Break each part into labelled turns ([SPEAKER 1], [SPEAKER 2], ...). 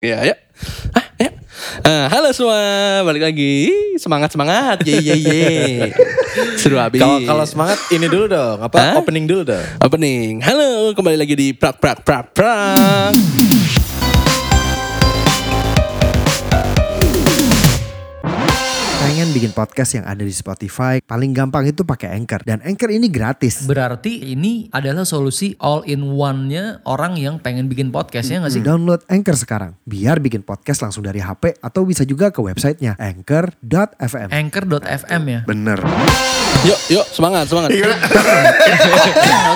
[SPEAKER 1] Ya, ayo. Hah, ayo. Eh, halo semua, balik lagi. Semangat semangat, ye ye ye. Seru habis.
[SPEAKER 2] Iya.
[SPEAKER 3] Kalau kalau semangat ini dulu dong, apa
[SPEAKER 1] Hah?
[SPEAKER 3] opening dulu dong.
[SPEAKER 1] opening. Halo, kembali lagi di Prak Prak Prak Prak.
[SPEAKER 4] Pengen bikin podcast yang ada di Spotify, paling gampang itu pakai Anchor dan Anchor ini gratis.
[SPEAKER 5] Berarti ini adalah solusi all in one-nya orang yang pengen bikin podcastnya nggak sih?
[SPEAKER 4] Download Anchor sekarang, biar bikin podcast langsung dari HP atau bisa juga ke websitenya anchor.fm.
[SPEAKER 2] Eh,
[SPEAKER 5] Anchor.fm ya.
[SPEAKER 4] Bener.
[SPEAKER 1] Yuk, yuk, semangat semangat.
[SPEAKER 3] Iya.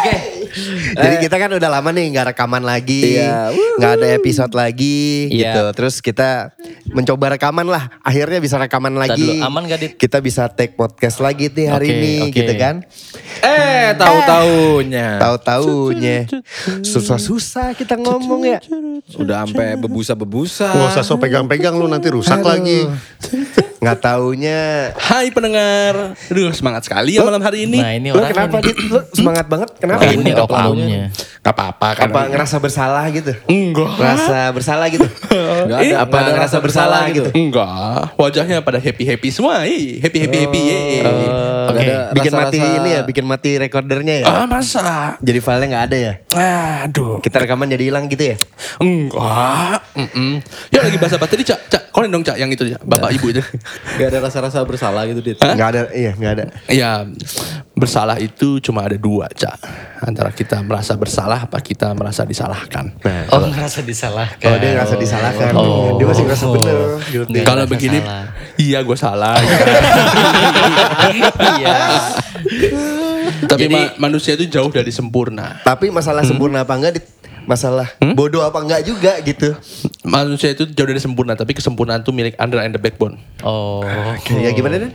[SPEAKER 5] Oke.
[SPEAKER 3] Eh.
[SPEAKER 2] Jadi kita kan udah lama nih nggak rekaman lagi,
[SPEAKER 3] Iya,
[SPEAKER 2] nggak ada episode lagi
[SPEAKER 5] Iya.
[SPEAKER 2] gitu. Terus kita mencoba rekaman lah. Akhirnya bisa rekaman
[SPEAKER 5] Ntar
[SPEAKER 2] lagi.
[SPEAKER 5] dulu, aman gak, Dit?
[SPEAKER 2] Kita bisa take podcast lagi nih hari
[SPEAKER 5] Oke,
[SPEAKER 2] ini
[SPEAKER 5] oke.
[SPEAKER 2] gitu kan.
[SPEAKER 3] Eh, tahu-tahunya
[SPEAKER 2] Tahu-taunya susah-susah kita ngomong ya.
[SPEAKER 3] udah sampai bebusa-bebusa.
[SPEAKER 6] Nggak usah so pegang-pegang lu nanti rusak lagi.
[SPEAKER 2] Nggak taunya.
[SPEAKER 1] Hai pendengar. Aduh, semangat sekali ya malam hari ini.
[SPEAKER 5] Nah ini
[SPEAKER 2] Lu
[SPEAKER 5] orang
[SPEAKER 2] kenapa Dit? Lu semangat banget? Kenapa?
[SPEAKER 5] ini
[SPEAKER 2] Apa-
[SPEAKER 5] oknumnya.
[SPEAKER 3] Gak apa-apa kan.
[SPEAKER 2] Apa ngerasa bersalah gitu?
[SPEAKER 1] Enggak.
[SPEAKER 2] Ngerasa bersalah gitu.
[SPEAKER 3] Nggak
[SPEAKER 1] Eh,
[SPEAKER 3] ada, apa ada rasa bersalah gitu.
[SPEAKER 1] Enggak, wajahnya pada happy-happy semua. Ih, happy-happy happy. ye.
[SPEAKER 2] Nggak
[SPEAKER 3] Oke,
[SPEAKER 2] ada bikin mati
[SPEAKER 3] rasa-rasa-
[SPEAKER 2] ini ya, bikin mati recordernya
[SPEAKER 3] Eh,
[SPEAKER 2] ya.
[SPEAKER 1] Ah, masa?
[SPEAKER 2] Jadi filenya nggak ada ya?
[SPEAKER 1] Aduh.
[SPEAKER 2] Kita rekaman jadi hilang gitu ya?
[SPEAKER 1] Enggak. Mm-mm. Ya lagi bahasa bahasa tadi, Cak. Cak, kolen dong, Cak, yang itu ya. Bapak Ibu itu.
[SPEAKER 3] Gak ada rasa-rasa bersalah gitu, Dit.
[SPEAKER 2] Nggak ada, iya nggak ada.
[SPEAKER 1] Ya, bersalah itu cuma ada dua, Cak. Antara kita merasa bersalah apa kita merasa disalahkan.
[SPEAKER 3] Nah.
[SPEAKER 5] Oh ngerasa disalahkan.
[SPEAKER 2] Oh, dia ngerasa disalahkan.
[SPEAKER 5] Oh.
[SPEAKER 2] Dia masih ngerasa bener. Gitu.
[SPEAKER 5] Nggak
[SPEAKER 1] Kalau
[SPEAKER 5] ngerasa
[SPEAKER 1] begini,
[SPEAKER 5] salah.
[SPEAKER 1] iya gue salah.
[SPEAKER 5] Iya.
[SPEAKER 1] Tapi ma- manusia itu jauh dari sempurna.
[SPEAKER 2] Tapi masalah sempurna apa enggak, Dit? masalah bodoh apa enggak juga gitu.
[SPEAKER 1] Manusia itu jauh dari sempurna, tapi kesempurnaan itu milik under and the backbone.
[SPEAKER 5] Oh.
[SPEAKER 2] Kayak Ya gimana Dan?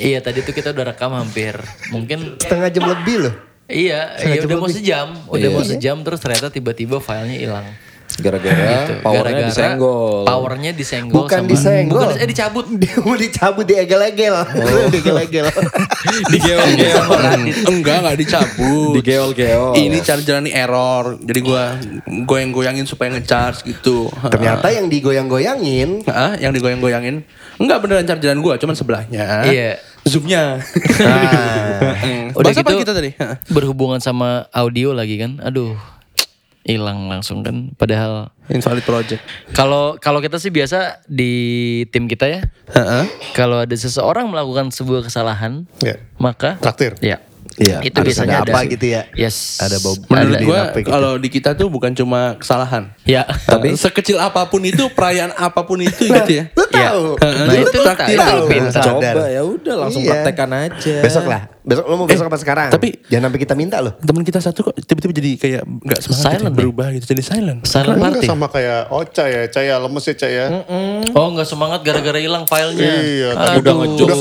[SPEAKER 5] Iya tadi tuh kita udah rekam hampir. Mungkin
[SPEAKER 2] Setengah jam lebih loh.
[SPEAKER 5] Iya, iya udah mau sejam,
[SPEAKER 2] Iya.
[SPEAKER 5] udah mau sejam terus ternyata tiba-tiba filenya hilang. Gitu.
[SPEAKER 3] Gara-gara powernya
[SPEAKER 5] Gara-gara
[SPEAKER 3] disenggol.
[SPEAKER 5] Powernya disenggol.
[SPEAKER 2] Bukan
[SPEAKER 5] sama-
[SPEAKER 2] disenggol.
[SPEAKER 5] Bukan, eh dicabut.
[SPEAKER 2] Dia mau dicabut di egel-egel. Diegel-egel.
[SPEAKER 3] Digeol-geol.
[SPEAKER 1] Enggak, enggak dicabut.
[SPEAKER 3] Digeol-geol.
[SPEAKER 1] Ini charger ini error. Jadi gua goyang-goyangin supaya ngecharge gitu.
[SPEAKER 2] Ternyata yang digoyang-goyangin
[SPEAKER 1] Hah? yang digoyang-goyangin? Enggak beneran chargeran gua, cuman sebelahnya.
[SPEAKER 5] Iya.
[SPEAKER 1] Zoomnya. Mm.
[SPEAKER 5] Udah
[SPEAKER 1] Bahasa
[SPEAKER 5] gitu,
[SPEAKER 1] apa kita tadi? Hah?
[SPEAKER 5] berhubungan sama audio lagi kan. Aduh. Hilang langsung kan padahal
[SPEAKER 1] Invalid project.
[SPEAKER 5] kalau kalau kita sih biasa di tim kita ya.
[SPEAKER 1] Heeh.
[SPEAKER 5] Kalau ada seseorang melakukan sebuah kesalahan,
[SPEAKER 6] Ya.
[SPEAKER 5] maka
[SPEAKER 6] Traktir.
[SPEAKER 5] ya.
[SPEAKER 2] Iya,
[SPEAKER 5] Itu
[SPEAKER 2] harus
[SPEAKER 5] biasanya
[SPEAKER 2] ada apa gitu ya.
[SPEAKER 5] Yes.
[SPEAKER 2] Ada bau-
[SPEAKER 1] Menurut
[SPEAKER 2] Ada
[SPEAKER 1] gua
[SPEAKER 2] apa gitu.
[SPEAKER 1] kalau di kita tuh bukan cuma kesalahan.
[SPEAKER 5] Ya.
[SPEAKER 1] Tapi sekecil apapun itu, perayaan apapun itu gitu ya.
[SPEAKER 2] Lu tahu.
[SPEAKER 1] Heeh,
[SPEAKER 5] Nah, itu lu
[SPEAKER 1] traktir.
[SPEAKER 5] tahu. Itu lu
[SPEAKER 2] Nah,
[SPEAKER 5] pintar.
[SPEAKER 2] sadar.
[SPEAKER 3] Coba ya udah langsung
[SPEAKER 2] Iya.
[SPEAKER 3] praktekkan aja.
[SPEAKER 2] Besok lah. Besok lu mau besok apa sekarang?
[SPEAKER 1] tapi-
[SPEAKER 2] jangan sampai kita minta loh.
[SPEAKER 1] Teman kita satu kok tiba-tiba jadi kayak nggak semangat gitu,
[SPEAKER 5] Silent ya?
[SPEAKER 1] berubah gitu jadi silent.
[SPEAKER 5] Silent
[SPEAKER 6] Enggak
[SPEAKER 5] party.
[SPEAKER 6] sama kayak Ocha ya, Caya lemes ya Caya.
[SPEAKER 5] Oh nggak semangat gara-gara hilang filenya.
[SPEAKER 6] Iya,
[SPEAKER 5] Aduh.
[SPEAKER 6] tadi udah ngejoks.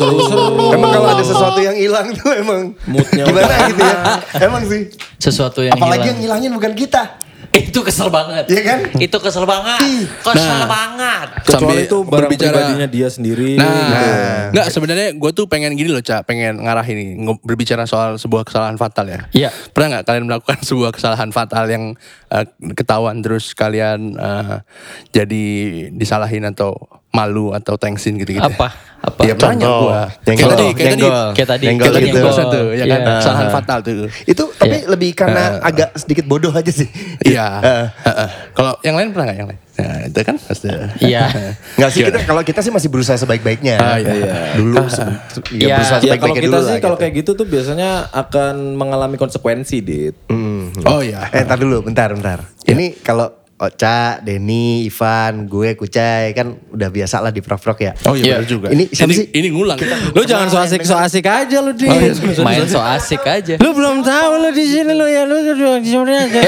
[SPEAKER 2] Emang kalau ada sesuatu yang hilang tuh emang
[SPEAKER 3] Oh. Moodnya
[SPEAKER 2] gimana gitu ya? Emang sih.
[SPEAKER 5] Sesuatu yang
[SPEAKER 2] Apalagi yang
[SPEAKER 5] hilang. Eh,
[SPEAKER 2] ngilangin bukan kita.
[SPEAKER 5] Itu kesel banget.
[SPEAKER 2] Iya kan?
[SPEAKER 5] Itu kesel banget.
[SPEAKER 6] Nah.
[SPEAKER 5] Kesel banget.
[SPEAKER 3] Kecuali
[SPEAKER 1] Sambil
[SPEAKER 3] itu barang
[SPEAKER 1] berbicara-
[SPEAKER 3] pribadinya dia sendiri.
[SPEAKER 1] Nah, nggak sebenarnya gue tuh pengen gini loh, Cak, pengen ngarah ini nge- berbicara soal sebuah kesalahan fatal ya.
[SPEAKER 5] Iya.
[SPEAKER 1] Pernah nggak kalian melakukan sebuah kesalahan fatal yang eh, ketahuan terus kalian eh, jadi disalahin atau malu atau thanksin
[SPEAKER 2] Gitu
[SPEAKER 1] gitu-gitu?
[SPEAKER 5] Apa? Apa?
[SPEAKER 1] Ya
[SPEAKER 2] Iya,
[SPEAKER 1] banyak
[SPEAKER 6] Nyenggol.
[SPEAKER 1] gua. Kayak tadi, kayak tadi.
[SPEAKER 2] Nyenggol.
[SPEAKER 5] Kayak tadi.
[SPEAKER 1] Kayak
[SPEAKER 2] Nyenggol
[SPEAKER 1] tadi
[SPEAKER 2] gitu.
[SPEAKER 1] yang barusan tuh, ya kan?
[SPEAKER 5] Iya.
[SPEAKER 1] Kesalahan fatal tuh.
[SPEAKER 2] Itu tapi lebih karena
[SPEAKER 3] Nah.
[SPEAKER 2] agak sedikit bodoh aja sih.
[SPEAKER 1] Iya. Heeh. Kalau yang lain pernah nggak yang lain? Nah, itu kan pasti.
[SPEAKER 5] Iya.
[SPEAKER 2] Enggak sih kita kalau kita sih masih berusaha sebaik-baiknya.
[SPEAKER 1] Ah, iya, iya.
[SPEAKER 2] Dulu se- ya,
[SPEAKER 5] Iya.
[SPEAKER 2] berusaha
[SPEAKER 3] Ya kalau
[SPEAKER 2] sebaik-baiknya
[SPEAKER 3] kita
[SPEAKER 2] dulu
[SPEAKER 3] sih
[SPEAKER 2] lah.
[SPEAKER 3] kalau
[SPEAKER 2] gitu.
[SPEAKER 3] kayak gitu tuh biasanya akan mengalami konsekuensi, Dit.
[SPEAKER 1] Oh iya.
[SPEAKER 2] Eh, ntar dulu, bentar, bentar. Ini kalau Oca, Denny, Ivan, gue, Kucai kan udah biasa lah di Prof-Rock ya.
[SPEAKER 1] Oh iya, bener juga.
[SPEAKER 2] Ini siapa sih?
[SPEAKER 1] Ini ngulang.
[SPEAKER 3] Lu jangan so asik so asik aja lu, Dit.
[SPEAKER 5] Main so asik aja.
[SPEAKER 3] Lu belum tahu lu di sini lu ya lu di sini aja.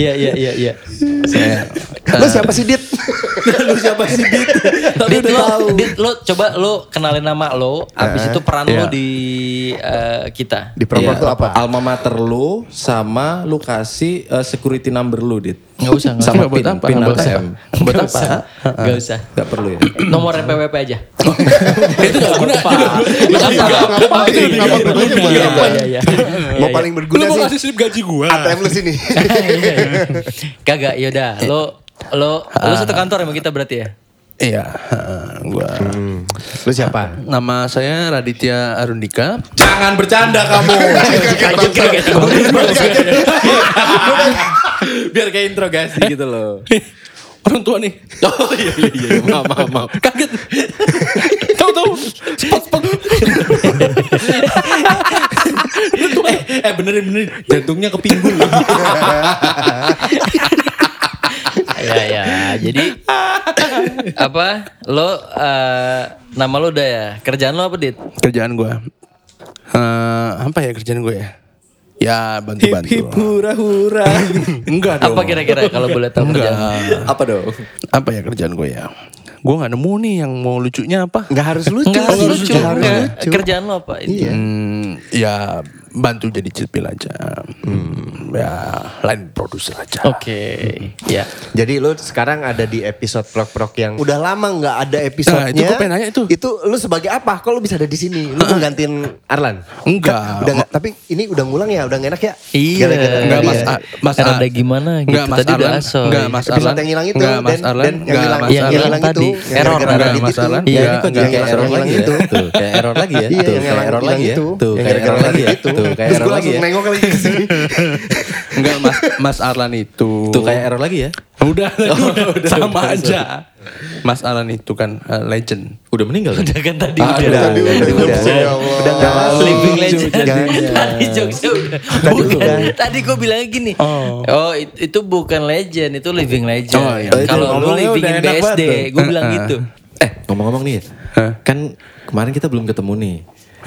[SPEAKER 5] Iya iya iya iya.
[SPEAKER 2] Lu siapa sih Dit?
[SPEAKER 3] lu Oh, siapa sih Dit? Tapi
[SPEAKER 5] Dit,
[SPEAKER 3] udah
[SPEAKER 5] lo,
[SPEAKER 3] tahu.
[SPEAKER 5] Dit, lo coba lo kenalin nama lo, abis itu peran lo
[SPEAKER 1] Iya.
[SPEAKER 5] di eh, kita.
[SPEAKER 2] Di proper
[SPEAKER 3] Iya,
[SPEAKER 2] tuh apa?
[SPEAKER 3] Alma mater lu sama lu kasih eh, security number lu, Dit.
[SPEAKER 5] Nggak usah, nggak
[SPEAKER 3] Sama
[SPEAKER 5] usah.
[SPEAKER 3] pin,
[SPEAKER 5] Buat apa?
[SPEAKER 3] pin
[SPEAKER 5] Nggak usah.
[SPEAKER 3] ATM.
[SPEAKER 5] Buat
[SPEAKER 3] Nggak
[SPEAKER 5] apa?
[SPEAKER 3] usah.
[SPEAKER 5] Nggak usah.
[SPEAKER 3] Gak perlu ya.
[SPEAKER 5] Nomor PWP aja. Itu nggak guna.
[SPEAKER 6] Nggak penting, nggak penting.
[SPEAKER 5] Iya, iya, iya.
[SPEAKER 2] Mau paling berguna sih
[SPEAKER 1] slip gaji gua.
[SPEAKER 2] ATM lu sini.
[SPEAKER 5] Kagak, yaudah. Lo lo lo satu kantor sama kita berarti ya?
[SPEAKER 1] Iya, heeh, gua.
[SPEAKER 2] lu siapa?
[SPEAKER 1] Nama saya Raditya Arundika.
[SPEAKER 3] Jangan bercanda kamu. Biar kayak interogasi gitu loh.
[SPEAKER 1] Eh, Orang tua nih.
[SPEAKER 3] Oh iya iya iya, maaf maaf maaf.
[SPEAKER 1] Kaget. Tahu-tahu spot spot.
[SPEAKER 3] eh, eh benerin benerin jantungnya kepinggul
[SPEAKER 5] Iya, iya. Jadi apa? Lo eh, nama lo udah ya? Kerjaan lo apa, Dit?
[SPEAKER 1] Kerjaan gua. Eh, apa ya kerjaan gue ya? Ya
[SPEAKER 3] hip hip
[SPEAKER 1] bantu-bantu.
[SPEAKER 3] hura hura
[SPEAKER 1] Enggak dong.
[SPEAKER 5] Apa kira-kira kalau boleh tahu kerjaan?
[SPEAKER 1] Enggak.
[SPEAKER 3] apa dong
[SPEAKER 1] Apa ya kerjaan gue ya? Gue nggak nemu nih yang mau lucunya apa.
[SPEAKER 2] Enggak harus lucu.
[SPEAKER 5] Enggak harus lucu.
[SPEAKER 2] Nggak harus
[SPEAKER 5] Enggak.
[SPEAKER 2] lucu.
[SPEAKER 5] Kerjaan lo apa? Itu?
[SPEAKER 1] Hmm, ya bantu jadi cipil aja. Hmm, ya lain produser aja.
[SPEAKER 5] Oke. Ya.
[SPEAKER 2] Jadi lu sekarang ada di episode prok-prok yang udah lama nggak ada
[SPEAKER 1] Nah,
[SPEAKER 2] episodenya.
[SPEAKER 1] itu gua pengen nanya itu.
[SPEAKER 2] Itu lu sebagai apa? Kok lu bisa ada di sini? Lu mau gantiin Arlan?
[SPEAKER 1] Enggak.
[SPEAKER 2] Udah nggak- tapi ini udah ngulang ya, udah nggak enak ya?
[SPEAKER 5] Iya.
[SPEAKER 2] Gara-gara
[SPEAKER 1] Enggak
[SPEAKER 2] tadi
[SPEAKER 1] Mas
[SPEAKER 2] ya.
[SPEAKER 1] A, Mas
[SPEAKER 5] Karena
[SPEAKER 1] A-
[SPEAKER 5] ada gimana gitu.
[SPEAKER 1] Enggak Mas
[SPEAKER 5] Tadi udah
[SPEAKER 1] Arlan.
[SPEAKER 5] asoy.
[SPEAKER 1] Enggak Mas
[SPEAKER 2] Episode
[SPEAKER 1] Arlan.
[SPEAKER 2] yang hilang itu,
[SPEAKER 1] Enggak Mas
[SPEAKER 2] Dan-
[SPEAKER 1] Arlan.
[SPEAKER 2] dan yang
[SPEAKER 1] Enggak
[SPEAKER 2] hilang-
[SPEAKER 1] Mas
[SPEAKER 5] yang hilang
[SPEAKER 1] Arlan.
[SPEAKER 5] tadi.
[SPEAKER 2] itu, yang
[SPEAKER 5] Error.
[SPEAKER 2] gara-gara
[SPEAKER 1] Enggak
[SPEAKER 2] Radit
[SPEAKER 1] Mas
[SPEAKER 2] itu.
[SPEAKER 1] Arlan.
[SPEAKER 2] Iya,
[SPEAKER 1] Enggak,
[SPEAKER 2] ini kok
[SPEAKER 1] enggak.
[SPEAKER 2] jadi
[SPEAKER 3] kayak error lagi ya
[SPEAKER 5] Iya,
[SPEAKER 2] itu.
[SPEAKER 3] tuh kayak error lagi ya
[SPEAKER 2] Iya,
[SPEAKER 3] tuh
[SPEAKER 2] yang
[SPEAKER 3] kayak
[SPEAKER 2] hilang-
[SPEAKER 3] error
[SPEAKER 2] hilang
[SPEAKER 3] lagi ya
[SPEAKER 2] itu.
[SPEAKER 3] tuh
[SPEAKER 2] Yang
[SPEAKER 3] kayak
[SPEAKER 2] gara-gara
[SPEAKER 3] error lagi
[SPEAKER 2] Radit
[SPEAKER 3] ya
[SPEAKER 2] itu.
[SPEAKER 3] tuh kayak
[SPEAKER 2] Terus
[SPEAKER 3] error
[SPEAKER 2] gua
[SPEAKER 3] lagi
[SPEAKER 2] langsung
[SPEAKER 3] ya
[SPEAKER 2] nengok lagi ke sini.
[SPEAKER 1] Enggak Mas Mas Arlan itu.
[SPEAKER 3] tuh kayak error lagi ya
[SPEAKER 1] udah,
[SPEAKER 2] Oh,
[SPEAKER 1] udah sama aja. Mas Arlan itu kan eh, legend.
[SPEAKER 3] udah meninggal kan
[SPEAKER 5] Udah kan tadi
[SPEAKER 3] Ah,
[SPEAKER 5] udah.
[SPEAKER 3] udah.
[SPEAKER 6] Tadi udah
[SPEAKER 2] Udah,
[SPEAKER 6] jokes
[SPEAKER 2] udah.
[SPEAKER 6] ya Allah.
[SPEAKER 2] Udah nggak masuk.
[SPEAKER 5] Living legend.
[SPEAKER 2] Jangan.
[SPEAKER 5] Oh, Tadi jokesnya udah.
[SPEAKER 2] Tadi
[SPEAKER 5] bukan.
[SPEAKER 2] udah.
[SPEAKER 5] Tadi gue bilang gini. Oh. it- itu bukan legend, itu living legend.
[SPEAKER 1] Oh, iya.
[SPEAKER 5] Kalau lu
[SPEAKER 3] Ngomongnya
[SPEAKER 5] living
[SPEAKER 3] udah
[SPEAKER 5] in
[SPEAKER 3] enak banget
[SPEAKER 5] BSD,
[SPEAKER 3] tuh.
[SPEAKER 5] gue bilang gitu.
[SPEAKER 3] eh ngomong-ngomong nih kan kemarin kita belum ketemu nih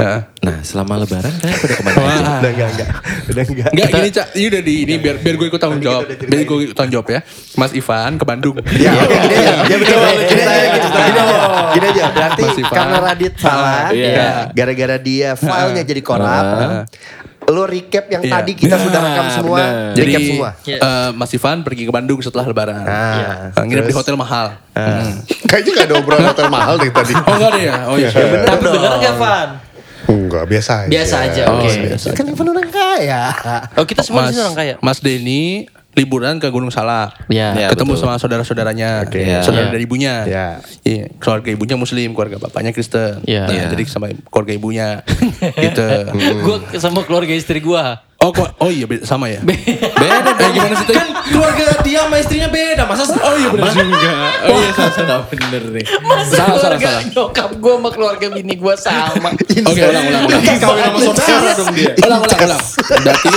[SPEAKER 1] Heeh.
[SPEAKER 3] nah selama lebaran kalian pada kemana aja
[SPEAKER 2] Udah enggak, enggak. Udah enggak.
[SPEAKER 1] Enggak gini Cak, ini udah di ini
[SPEAKER 2] Iya.
[SPEAKER 1] biar biar gue ikut tanggung jawab. Biar gue ikut tanggung jawab ya. Mas Ivan ke Bandung.
[SPEAKER 2] Ya, oke, gini aja. Ya, betul. Gini aja,
[SPEAKER 3] Iya, iya,
[SPEAKER 2] gini aja. Gini aja. Gini aja. Berarti
[SPEAKER 1] Mas Ivan.
[SPEAKER 2] karena Radit salah,
[SPEAKER 3] Iya.
[SPEAKER 2] ya, gara-gara dia filenya jadi korup, lu recap yang
[SPEAKER 1] Iya.
[SPEAKER 2] tadi kita sudah
[SPEAKER 3] Nah,
[SPEAKER 2] rekam semua,
[SPEAKER 3] benar.
[SPEAKER 2] recap
[SPEAKER 1] Jadi
[SPEAKER 2] semua.
[SPEAKER 5] Iya.
[SPEAKER 1] eh, Mas Ivan pergi ke Bandung setelah lebaran.
[SPEAKER 2] Nah,
[SPEAKER 1] Eh, Nginep di
[SPEAKER 2] terus?
[SPEAKER 1] hotel mahal. Hmm.
[SPEAKER 6] Kayaknya gak ada obrolan hotel mahal deh tadi.
[SPEAKER 1] Oh enggak ada ya? Oh iya.
[SPEAKER 5] Tapi bener gak Van?
[SPEAKER 6] Enggak, biasa aja.
[SPEAKER 5] Biasa aja, oke.
[SPEAKER 1] biasa.
[SPEAKER 2] Kan Ivan orang kaya.
[SPEAKER 5] Oh kita
[SPEAKER 1] Oh, iya,
[SPEAKER 5] semua di
[SPEAKER 1] Mas,
[SPEAKER 5] sini orang kaya.
[SPEAKER 1] Mas Denny liburan ke Gunung Salak.
[SPEAKER 5] Ya.
[SPEAKER 3] Ya,
[SPEAKER 1] ketemu
[SPEAKER 3] betul.
[SPEAKER 1] sama saudara-saudaranya. Iya.
[SPEAKER 3] Ya.
[SPEAKER 1] Saudara
[SPEAKER 5] Ya.
[SPEAKER 1] dari ibunya.
[SPEAKER 2] Ya.
[SPEAKER 1] Iya, keluarga ibunya muslim, keluarga bapaknya Kristen.
[SPEAKER 5] Ya.
[SPEAKER 1] Nah,
[SPEAKER 3] Ya.
[SPEAKER 1] jadi sama keluarga ibunya gitu.
[SPEAKER 5] gue sama keluarga istri gue.
[SPEAKER 1] Oh, kok- oh iya be- sama ya.
[SPEAKER 3] beda
[SPEAKER 1] Eh, gimana sih, Teh?
[SPEAKER 3] kan keluarga dia sama istrinya beda masa oh iya benar juga oh iya salah salah bener nih
[SPEAKER 5] Masa
[SPEAKER 1] Salah, salah,
[SPEAKER 5] keluarga
[SPEAKER 1] salah.
[SPEAKER 5] nyokap gue sama keluarga bini gue sama.
[SPEAKER 1] Oke, ulang ulang ulang.
[SPEAKER 3] Kan kawin sama saudara dong dia
[SPEAKER 1] Ulang ulang ulang. Berarti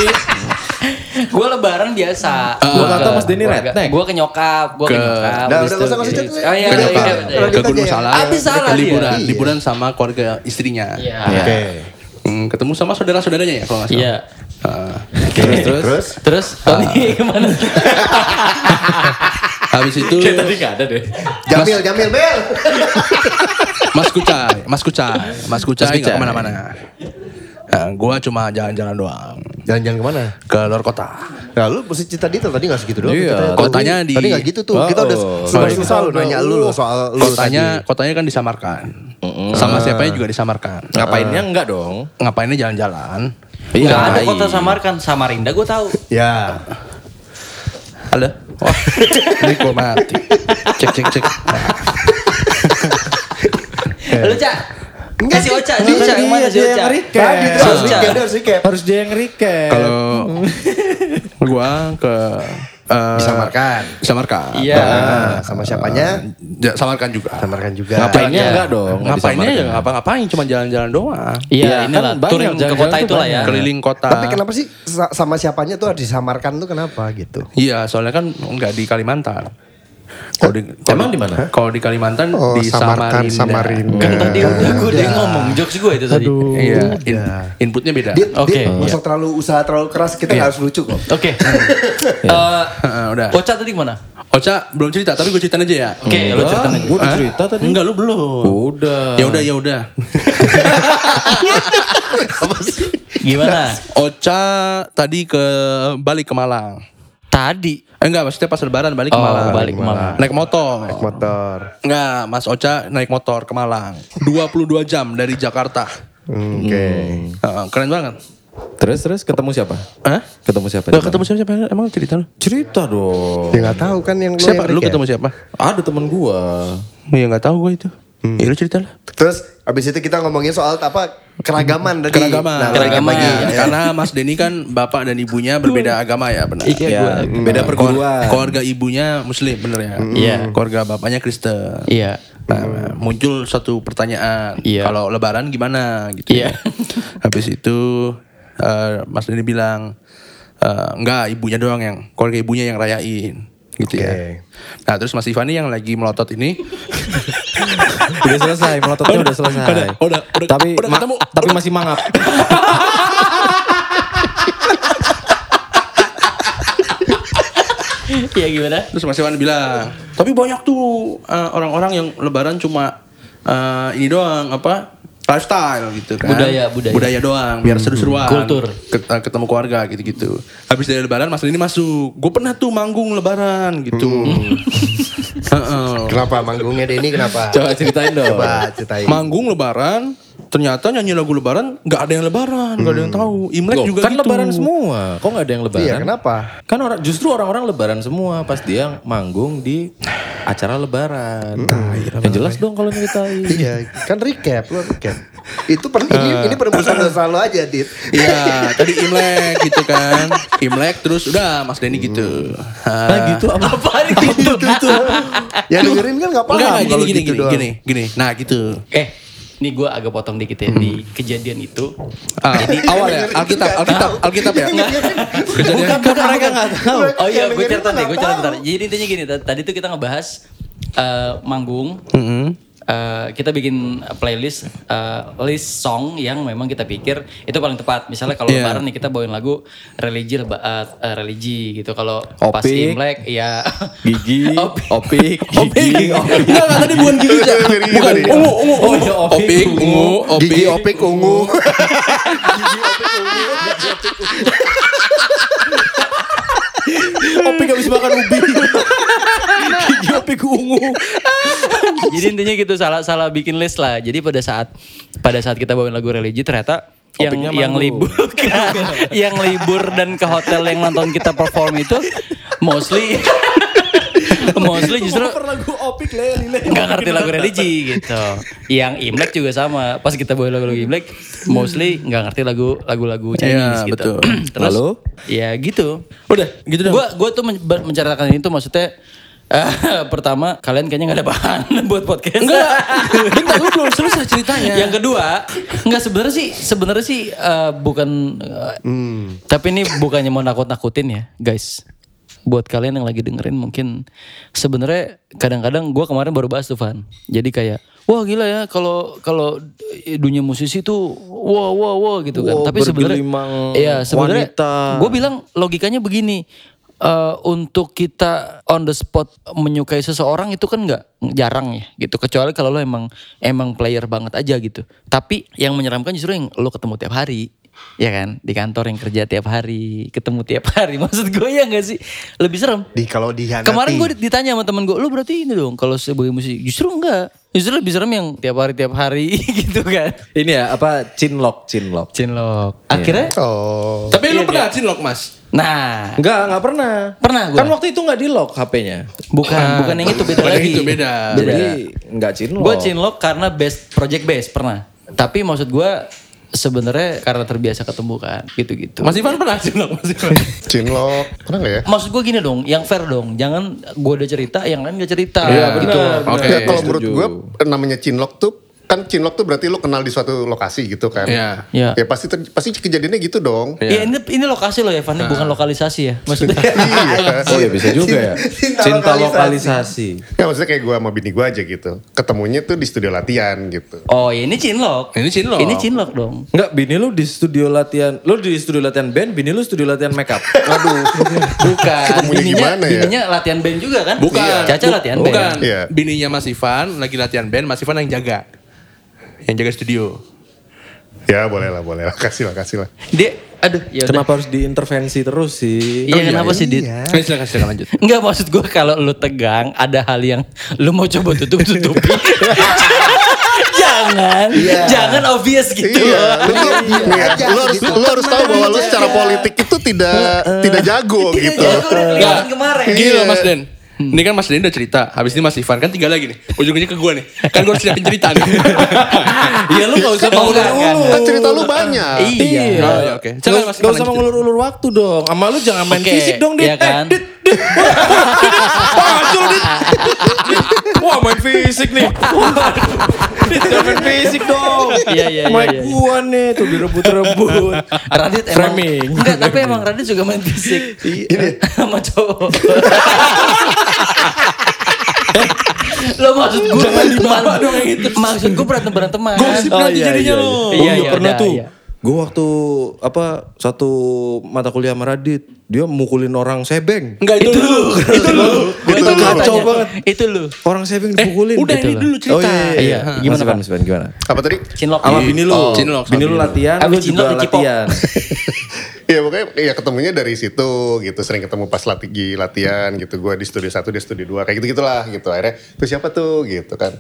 [SPEAKER 5] gue lebaran biasa.
[SPEAKER 1] Gua kata
[SPEAKER 3] Mas Denny redneck.
[SPEAKER 5] Gue ke nyokap, gue ke,
[SPEAKER 1] Ke-
[SPEAKER 5] nyokap.
[SPEAKER 2] Udah,
[SPEAKER 5] habis
[SPEAKER 2] udah,
[SPEAKER 5] itu-
[SPEAKER 2] nggak usah, nggak usah
[SPEAKER 5] Oh,
[SPEAKER 2] cerita.
[SPEAKER 5] iya,
[SPEAKER 1] ke
[SPEAKER 5] iya,
[SPEAKER 1] nyokap,
[SPEAKER 5] iya,
[SPEAKER 2] Ke
[SPEAKER 5] iya.
[SPEAKER 1] ke Gunung
[SPEAKER 2] Iya.
[SPEAKER 1] Salak,
[SPEAKER 5] Abis salah dia.
[SPEAKER 1] liburan,
[SPEAKER 2] Iya.
[SPEAKER 1] liburan sama keluarga istrinya.
[SPEAKER 5] Iya.
[SPEAKER 2] Oke.
[SPEAKER 6] Eh,
[SPEAKER 1] Hmm, ketemu sama saudara-saudaranya ya kalau nggak salah.
[SPEAKER 5] Iya.
[SPEAKER 1] Ah.
[SPEAKER 3] terus terus
[SPEAKER 5] Terus
[SPEAKER 3] Ah.
[SPEAKER 5] Tony gimana?
[SPEAKER 1] habis itu
[SPEAKER 3] kayak tadi nggak ada deh
[SPEAKER 2] Jamil, Jamil, Bel.
[SPEAKER 1] Mas Kucai, Mas Kucai, Mas Kucai
[SPEAKER 3] Kucai.
[SPEAKER 1] nggak kemana-mana. Eh, gua cuma jalan-jalan doang
[SPEAKER 2] Jalan-jalan kemana?
[SPEAKER 1] ke luar kota.
[SPEAKER 2] Nah lu mesti cerita detail tadi gak segitu doang.
[SPEAKER 3] Iya,
[SPEAKER 2] ceritanya.
[SPEAKER 1] kotanya
[SPEAKER 2] Tadi-
[SPEAKER 1] di-
[SPEAKER 2] Tadi gak gitu tuh. Kita udah
[SPEAKER 3] Oh,
[SPEAKER 2] susah-susah lu nanya lu loh soal lu
[SPEAKER 1] Kotanya, kotanya kan disamarkan. Sama siapanya juga disamarkan.
[SPEAKER 3] Ah.
[SPEAKER 1] Ah.
[SPEAKER 3] ngapainnya enggak dong
[SPEAKER 1] Ngapainnya jalan-jalan?
[SPEAKER 3] Iya.
[SPEAKER 5] Gak ada kota Samarkan, Samarinda gue tahu.
[SPEAKER 2] tadi. Ya.
[SPEAKER 1] Halo. Oh, ini gua mati. Cek cek cek.
[SPEAKER 5] Lu Cak, kasih Oca, si Oca
[SPEAKER 3] Kan
[SPEAKER 5] kemana
[SPEAKER 3] dia
[SPEAKER 5] si Oca?
[SPEAKER 3] yang recap.
[SPEAKER 2] Tadi tuh
[SPEAKER 5] Si
[SPEAKER 2] harus
[SPEAKER 5] Oca.
[SPEAKER 2] recap, dia harus recap.
[SPEAKER 3] harus dia yang recap
[SPEAKER 1] Kalau gua ke eh,
[SPEAKER 2] Disamarkan.
[SPEAKER 1] Disamarkan.
[SPEAKER 5] Iya.
[SPEAKER 2] Nah, Ah. sama siapanya?
[SPEAKER 1] Ja- Ya, Samarkan juga.
[SPEAKER 2] Samarkan juga.
[SPEAKER 3] Ngapainnya
[SPEAKER 5] Iya.
[SPEAKER 3] enggak dong nggak
[SPEAKER 1] Ngapainnya ya
[SPEAKER 3] disamarkan.
[SPEAKER 1] ngapa-ngapain cuma jalan-jalan doang.
[SPEAKER 5] Iya,
[SPEAKER 3] Iya,
[SPEAKER 5] inilah
[SPEAKER 3] kan banyak
[SPEAKER 5] touring ke
[SPEAKER 3] jalan-jalan
[SPEAKER 5] kota
[SPEAKER 3] tuh
[SPEAKER 5] itulah ya.
[SPEAKER 1] Keliling kota.
[SPEAKER 2] Tapi kenapa sih sa- sama siapanya tuh harus disamarkan tuh kenapa gitu?
[SPEAKER 1] Iya, soalnya kan nggak di Kalimantan. Kalau di, kalau-
[SPEAKER 3] Emang di mana?
[SPEAKER 1] Kalau di Kalimantan
[SPEAKER 6] Oh,
[SPEAKER 1] di
[SPEAKER 6] Samarkan,
[SPEAKER 1] Samarinda.
[SPEAKER 6] Samarinda.
[SPEAKER 3] Iya.
[SPEAKER 5] Kan tadi udah gue udah ngomong jokes gue itu tadi. Oke.
[SPEAKER 1] Iya, in- inputnya beda.
[SPEAKER 2] Dit,
[SPEAKER 5] Oke,
[SPEAKER 2] Dit,
[SPEAKER 5] iya.
[SPEAKER 2] masuk terlalu usaha terlalu keras kita nggak harus lucu kok.
[SPEAKER 3] Iya.
[SPEAKER 5] Eh,
[SPEAKER 1] Heeh, Ah, udah.
[SPEAKER 5] Ocha tadi mana?
[SPEAKER 1] Ocha belum cerita, tapi gue ceritain aja ya.
[SPEAKER 5] Oke, lo ceritain aja.
[SPEAKER 3] Gue udah cerita tadi.
[SPEAKER 1] Enggak, lu belum.
[SPEAKER 3] Udah.
[SPEAKER 1] Ya udah, ya udah.
[SPEAKER 5] Gimana?
[SPEAKER 1] Ocha tadi ke balik ke Malang.
[SPEAKER 5] Tadi.
[SPEAKER 1] Eh, enggak, maksudnya pas lebaran balik ke
[SPEAKER 5] Oh,
[SPEAKER 1] Malang.
[SPEAKER 5] balik ke Malang.
[SPEAKER 1] Naik motor.
[SPEAKER 6] motor.
[SPEAKER 1] Enggak, Mas Ocha naik motor ke Malang. 22 jam dari Jakarta.
[SPEAKER 6] Hmm, Oke.
[SPEAKER 1] Heeh, keren banget.
[SPEAKER 3] Terus terus ketemu siapa?
[SPEAKER 1] Hah?
[SPEAKER 3] Ketemu siapa?
[SPEAKER 1] Enggak ketemu siapa, siapa? Emang cerita lu?
[SPEAKER 3] Cerita
[SPEAKER 2] Oh.
[SPEAKER 3] dong.
[SPEAKER 6] Ya nggak tahu kan yang lu
[SPEAKER 1] Siapa?
[SPEAKER 6] yang
[SPEAKER 1] Lu
[SPEAKER 6] Rick ya?
[SPEAKER 1] ketemu siapa?
[SPEAKER 3] Ada teman gua.
[SPEAKER 1] Ya enggak tahu gue itu. Ya lu cerita lah.
[SPEAKER 2] Terus abis itu kita ngomongin soal apa keragaman tadi.
[SPEAKER 1] Keragaman.
[SPEAKER 2] Nah,
[SPEAKER 5] Keragaman.
[SPEAKER 2] bagi-
[SPEAKER 1] Iya, Karena Mas Denny kan bapak dan ibunya berbeda agama ya, benar.
[SPEAKER 5] Iya,
[SPEAKER 3] Ya,
[SPEAKER 5] gua-
[SPEAKER 3] beda perguruan.
[SPEAKER 1] Keluarga, keluarga ibunya muslim bener ya.
[SPEAKER 5] Iya.
[SPEAKER 1] Keluarga bapaknya Kristen.
[SPEAKER 5] Iya.
[SPEAKER 1] Nah, muncul satu pertanyaan,
[SPEAKER 5] Iya.
[SPEAKER 1] kalau lebaran gimana gitu.
[SPEAKER 5] Iya.
[SPEAKER 1] Habis itu eh, Mas Denny bilang eh, enggak ibunya doang yang keluarga ibunya yang rayain gitu ya. Nah, terus Mas Ivani yang lagi melotot ini
[SPEAKER 3] Udah selesai, melototnya udah selesai.
[SPEAKER 1] Udah, "Oh, udah, udah,
[SPEAKER 3] tapi
[SPEAKER 1] udah
[SPEAKER 3] ma-
[SPEAKER 1] ketemu.
[SPEAKER 3] tapi masih mangap.
[SPEAKER 5] Iya gimana?
[SPEAKER 1] Terus Mas Iwan bilang, tapi banyak tuh eh, orang-orang yang Lebaran cuma eh, ini doang apa lifestyle gitu kan.
[SPEAKER 5] Budaya, budaya.
[SPEAKER 1] doang, biar seru-seruan.
[SPEAKER 5] Kultur.
[SPEAKER 1] Ket- eh, ketemu keluarga gitu-gitu. Habis dari Lebaran Mas ini masuk. Gue pernah tuh manggung Lebaran gitu. Heeh.
[SPEAKER 2] Oh. Kenapa manggungnya Denny kenapa?
[SPEAKER 3] Coba ceritain dong.
[SPEAKER 2] Coba ceritain.
[SPEAKER 1] manggung Lebaran, ternyata nyanyi lagu Lebaran nggak ada yang Lebaran, nggak ada yang tahu. Imlek
[SPEAKER 3] Loh,
[SPEAKER 1] juga
[SPEAKER 3] kan
[SPEAKER 1] gitu.
[SPEAKER 3] lebaran semua. Kok nggak ada yang lebaran?
[SPEAKER 2] Iya, kenapa?
[SPEAKER 3] Kan orang justru orang-orang lebaran semua pas dia manggung di acara lebaran.
[SPEAKER 2] Nah,
[SPEAKER 3] yang jelas dong kalau nyeritain.
[SPEAKER 2] Iya, kan recap lo recap. Itu per, ini
[SPEAKER 3] Eh.
[SPEAKER 2] ini perempuan dosa lo aja, Dit.
[SPEAKER 1] Iya, tadi Imlek gitu kan. Imlek terus udah Mas Denny gitu. Ah.
[SPEAKER 3] Nah gitu apa?
[SPEAKER 5] Itu itu.
[SPEAKER 2] Yang dengerin kan nggak paham
[SPEAKER 1] Enggak, enggak,
[SPEAKER 2] kalau
[SPEAKER 1] gini, gini,
[SPEAKER 2] gitu
[SPEAKER 1] gini,
[SPEAKER 2] doang.
[SPEAKER 1] gini, gini. Nah gitu.
[SPEAKER 5] Eh, ini gue agak potong dikit ya
[SPEAKER 3] Hmm.
[SPEAKER 5] di kejadian itu.
[SPEAKER 1] Ah, awal ya, Alkitab, Alkitab, Alkitab ya. Kejadian.
[SPEAKER 5] Bukan, bukan,
[SPEAKER 2] mereka
[SPEAKER 5] bukan.
[SPEAKER 2] nggak tahu.
[SPEAKER 5] Oh
[SPEAKER 2] Yang
[SPEAKER 5] iya, gue
[SPEAKER 2] dengerin
[SPEAKER 5] cerita
[SPEAKER 2] tuh
[SPEAKER 5] nih,
[SPEAKER 2] nggak
[SPEAKER 5] gue cerita
[SPEAKER 2] tahu.
[SPEAKER 5] bentar. Jadi intinya gini, t- tadi tuh kita ngebahas eh, manggung. Eh, kita bikin playlist eh, list song yang memang kita pikir itu paling tepat. Misalnya kalau
[SPEAKER 1] Iya.
[SPEAKER 5] lebaran nih kita bawain lagu religi leba- eh, eh, religi gitu. Kalau pas
[SPEAKER 3] Opik.
[SPEAKER 5] Imlek ya
[SPEAKER 3] Gigi, opik, gigi, opik.
[SPEAKER 1] Enggak, enggak, tadi bukan gigi ya. Bukan ungu, ungu,
[SPEAKER 3] Oh,
[SPEAKER 1] ungu.
[SPEAKER 3] iya, opik,
[SPEAKER 1] Opik,
[SPEAKER 3] ungu.
[SPEAKER 1] ungu,
[SPEAKER 2] Gigi
[SPEAKER 1] opik.
[SPEAKER 2] opik ungu.
[SPEAKER 3] Opik habis makan ubi. gigi opik ungu.
[SPEAKER 5] Jadi intinya gitu salah-salah bikin list lah. Jadi pada saat pada saat kita bawain lagu religi ternyata yang
[SPEAKER 3] Topiknya
[SPEAKER 5] yang
[SPEAKER 3] manggung.
[SPEAKER 5] libur yang libur dan ke hotel yang nonton kita perform itu mostly mostly justru
[SPEAKER 3] lagu opik lele lele.
[SPEAKER 5] nggak ngerti lagu religi gitu. Yang Imlek juga sama. Pas kita bawain lagu-lagu Imlek mostly nggak ngerti lagu lagu-lagu Chinese
[SPEAKER 1] Iya,
[SPEAKER 5] gitu.
[SPEAKER 1] betul.
[SPEAKER 5] Terus
[SPEAKER 3] Lalu?
[SPEAKER 5] ya gitu.
[SPEAKER 1] Udah, gitu dong.
[SPEAKER 5] Gue gua tuh men- ber- menceritakan ini tuh maksudnya eh, pertama kalian kayaknya nggak ada bahan buat podcast.
[SPEAKER 1] Enggak, bentar lu belum selesai ceritanya.
[SPEAKER 5] Yang kedua, nggak sebenarnya sih sebenarnya sih eh, bukan eh,
[SPEAKER 1] Hmm.
[SPEAKER 5] tapi ini bukannya mau nakut-nakutin ya, guys. Buat kalian yang lagi dengerin mungkin sebenarnya kadang-kadang gua kemarin baru bahas tuh Van. Jadi kayak wah gila ya kalau kalau dunia musisi tuh wah wah wah gitu kan.
[SPEAKER 3] Wow,
[SPEAKER 5] tapi sebenarnya
[SPEAKER 3] bergelimang
[SPEAKER 5] iya sebenarnya
[SPEAKER 3] wanita.
[SPEAKER 5] gue bilang logikanya begini. eh, untuk kita on the spot menyukai seseorang itu kan nggak jarang ya gitu kecuali kalau lo emang emang player banget aja gitu tapi yang menyeramkan justru yang lo ketemu tiap hari ya kan di kantor yang kerja tiap hari ketemu tiap hari maksud gue ya nggak sih lebih serem
[SPEAKER 2] Di kalau dihianati.
[SPEAKER 5] Kemarin gue ditanya sama temen gue, lu berarti ini dong kalau sebagai musisi. Justru enggak. Justru lebih serem yang tiap hari tiap hari gitu kan.
[SPEAKER 3] Ini ya apa cinlok, cinlok.
[SPEAKER 5] Cinlok. Akhirnya,
[SPEAKER 6] Oh.
[SPEAKER 1] Tapi lu
[SPEAKER 3] Iya,
[SPEAKER 1] pernah cinlok, Mas?
[SPEAKER 5] nah
[SPEAKER 3] Enggak, enggak pernah.
[SPEAKER 5] Pernah gua.
[SPEAKER 3] Kan waktu itu enggak di lock HP-nya.
[SPEAKER 5] bukan bukan yang itu beda
[SPEAKER 1] Bukan yang
[SPEAKER 5] lagi.
[SPEAKER 3] Iya.
[SPEAKER 1] itu, beda.
[SPEAKER 3] Jadi enggak cinlok.
[SPEAKER 5] Gue cinlok karena best project base pernah. Tapi maksud gue sebenarnya karena terbiasa ketemu kan gitu-gitu.
[SPEAKER 1] Mas Ivan pernah cinlok, Mas Ivan.
[SPEAKER 6] Cinlok. Pernah nggak ya?
[SPEAKER 5] Maksud gue gini dong, yang fair dong. Jangan gue udah cerita, yang lain gak cerita.
[SPEAKER 3] Iya, benar.
[SPEAKER 5] gitu.
[SPEAKER 1] Oke.
[SPEAKER 6] Ya, kalau
[SPEAKER 3] setuju.
[SPEAKER 6] menurut gue namanya cinlok tuh kan cinlok tuh berarti lu kenal di suatu lokasi gitu kan.
[SPEAKER 1] Iya.
[SPEAKER 5] Iya.
[SPEAKER 6] Ya pasti ter- pasti kejadiannya gitu dong.
[SPEAKER 5] Ya, ini ini lokasi loh Evan, bukan lokalisasi ya. Maksudnya
[SPEAKER 6] Iya.
[SPEAKER 3] Oh iya bisa juga ya.
[SPEAKER 2] Cinta
[SPEAKER 3] Cinta
[SPEAKER 2] lokalisasi.
[SPEAKER 3] lokalisasi.
[SPEAKER 6] Ya maksudnya kayak gue sama bini gue aja gitu. Ketemunya tuh di studio latihan gitu.
[SPEAKER 5] Oh, ya ini cinlok.
[SPEAKER 1] Ini cinlok.
[SPEAKER 5] Ini cinlok dong.
[SPEAKER 3] Enggak, bini lu di studio latihan, lu di studio latihan band, bini lu studio latihan makeup. Aduh.
[SPEAKER 1] Iya.
[SPEAKER 5] Bukan.
[SPEAKER 6] Ketemunya
[SPEAKER 5] Bininya,
[SPEAKER 6] gimana ya?
[SPEAKER 5] bininya latihan band juga kan?
[SPEAKER 1] Bukan.
[SPEAKER 5] Caca
[SPEAKER 1] Iya. Bu-
[SPEAKER 5] latihan band.
[SPEAKER 1] Bukan.
[SPEAKER 6] Iya.
[SPEAKER 1] Bininya Mas Ivan lagi latihan band, Mas Ivan yang jaga. Yang jaga studio.
[SPEAKER 6] Ya boleh lah, boleh lah. Kasih lah, kasih lah.
[SPEAKER 5] Dia aduh, ya udah.
[SPEAKER 3] Kenapa harus diintervensi terus sih?
[SPEAKER 5] Iya, kenapa sih, Dit?
[SPEAKER 1] Eh, silakan silakan lanjut.
[SPEAKER 5] Enggak maksud gue kalau lu tegang ada hal yang lu mau coba tutup-tutupi. jangan,
[SPEAKER 3] Iya.
[SPEAKER 5] jangan obvious gitu.
[SPEAKER 6] Iya, lu, tuh- nih ya,
[SPEAKER 2] aja
[SPEAKER 6] lu harus
[SPEAKER 2] gitu.
[SPEAKER 6] lu harus tahu bahwa lu secara politik itu tidak tidak jago
[SPEAKER 5] Tidak
[SPEAKER 6] gitu.
[SPEAKER 5] jago udah kelihatan kemarin.
[SPEAKER 1] Gini loh
[SPEAKER 6] Iya.
[SPEAKER 1] Mas Den. Ini kan Mas Den udah cerita, habis ini Mas Ivan kan tinggal lagi nih. Ujung-ujungnya ke gue nih. Kan gue harus siapin cerita nih.
[SPEAKER 5] Iya lu gak usah mengulur-ulur.
[SPEAKER 6] Kan cerita lu banyak.
[SPEAKER 5] Iya.
[SPEAKER 1] Oh, iya, oke.
[SPEAKER 3] Gak
[SPEAKER 1] Silakan, Mas
[SPEAKER 3] usah- gak
[SPEAKER 1] Ivan
[SPEAKER 3] usah
[SPEAKER 1] lanjut.
[SPEAKER 3] mengulur-ulur waktu dong. Sama lu jangan main
[SPEAKER 5] Oke,
[SPEAKER 3] fisik dong, Dit.
[SPEAKER 5] iya kan?
[SPEAKER 3] Eh, Dit, Dit. Wah, Dit. Wah, main fisik nih. Wah, Dit, jangan main fisik dong.
[SPEAKER 5] Iya, iya, iya,
[SPEAKER 3] Main
[SPEAKER 5] iya.
[SPEAKER 3] gua nih, tuh direbut-rebut.
[SPEAKER 5] Radit emang
[SPEAKER 3] Framing. Iya,
[SPEAKER 5] Enggak, tapi emang Radit juga main fisik.
[SPEAKER 3] Eh,
[SPEAKER 5] Sama cowok. Lo maksud gue Jangan dibawa dong yang itu. Maksud gue berantem beranteman.
[SPEAKER 3] Gosip nanti jadinya lu.
[SPEAKER 5] Oh, Iya,
[SPEAKER 3] Gua
[SPEAKER 5] iya,
[SPEAKER 3] pernah
[SPEAKER 5] iya,
[SPEAKER 3] tuh.
[SPEAKER 5] iya.
[SPEAKER 3] Gue waktu apa satu mata kuliah sama Radit, dia mukulin orang sebeng.
[SPEAKER 1] Enggak itu, dulu. Itu lu.
[SPEAKER 5] Gua
[SPEAKER 6] Itu
[SPEAKER 5] itu
[SPEAKER 6] lu.
[SPEAKER 5] kacau
[SPEAKER 3] Kacau banget.
[SPEAKER 5] banget. Itu lu.
[SPEAKER 3] Orang sebeng dipukulin.
[SPEAKER 1] udah,
[SPEAKER 3] Gitu
[SPEAKER 1] ini
[SPEAKER 3] lah.
[SPEAKER 1] dulu cerita.
[SPEAKER 3] Oh, iya, iya,
[SPEAKER 5] Iya,
[SPEAKER 3] iya.
[SPEAKER 5] gimana,
[SPEAKER 3] Gimana, Pan?
[SPEAKER 5] Pan?
[SPEAKER 3] Gimana? gimana?
[SPEAKER 6] Apa tadi?
[SPEAKER 5] Cinlok.
[SPEAKER 2] ya?
[SPEAKER 3] Sama bini lu.
[SPEAKER 1] Oh, cinlok, sama
[SPEAKER 3] Bini lu
[SPEAKER 1] bini lu.
[SPEAKER 3] latihan,
[SPEAKER 5] Abis
[SPEAKER 3] lu
[SPEAKER 5] cinlok
[SPEAKER 3] juga
[SPEAKER 5] dicipok.
[SPEAKER 3] latihan.
[SPEAKER 6] Iya pokoknya ya ketemunya dari situ gitu sering ketemu pas lati- di latihan gitu gue di studio satu dia studio dua kayak gitu gitulah gitu akhirnya tuh siapa tuh gitu kan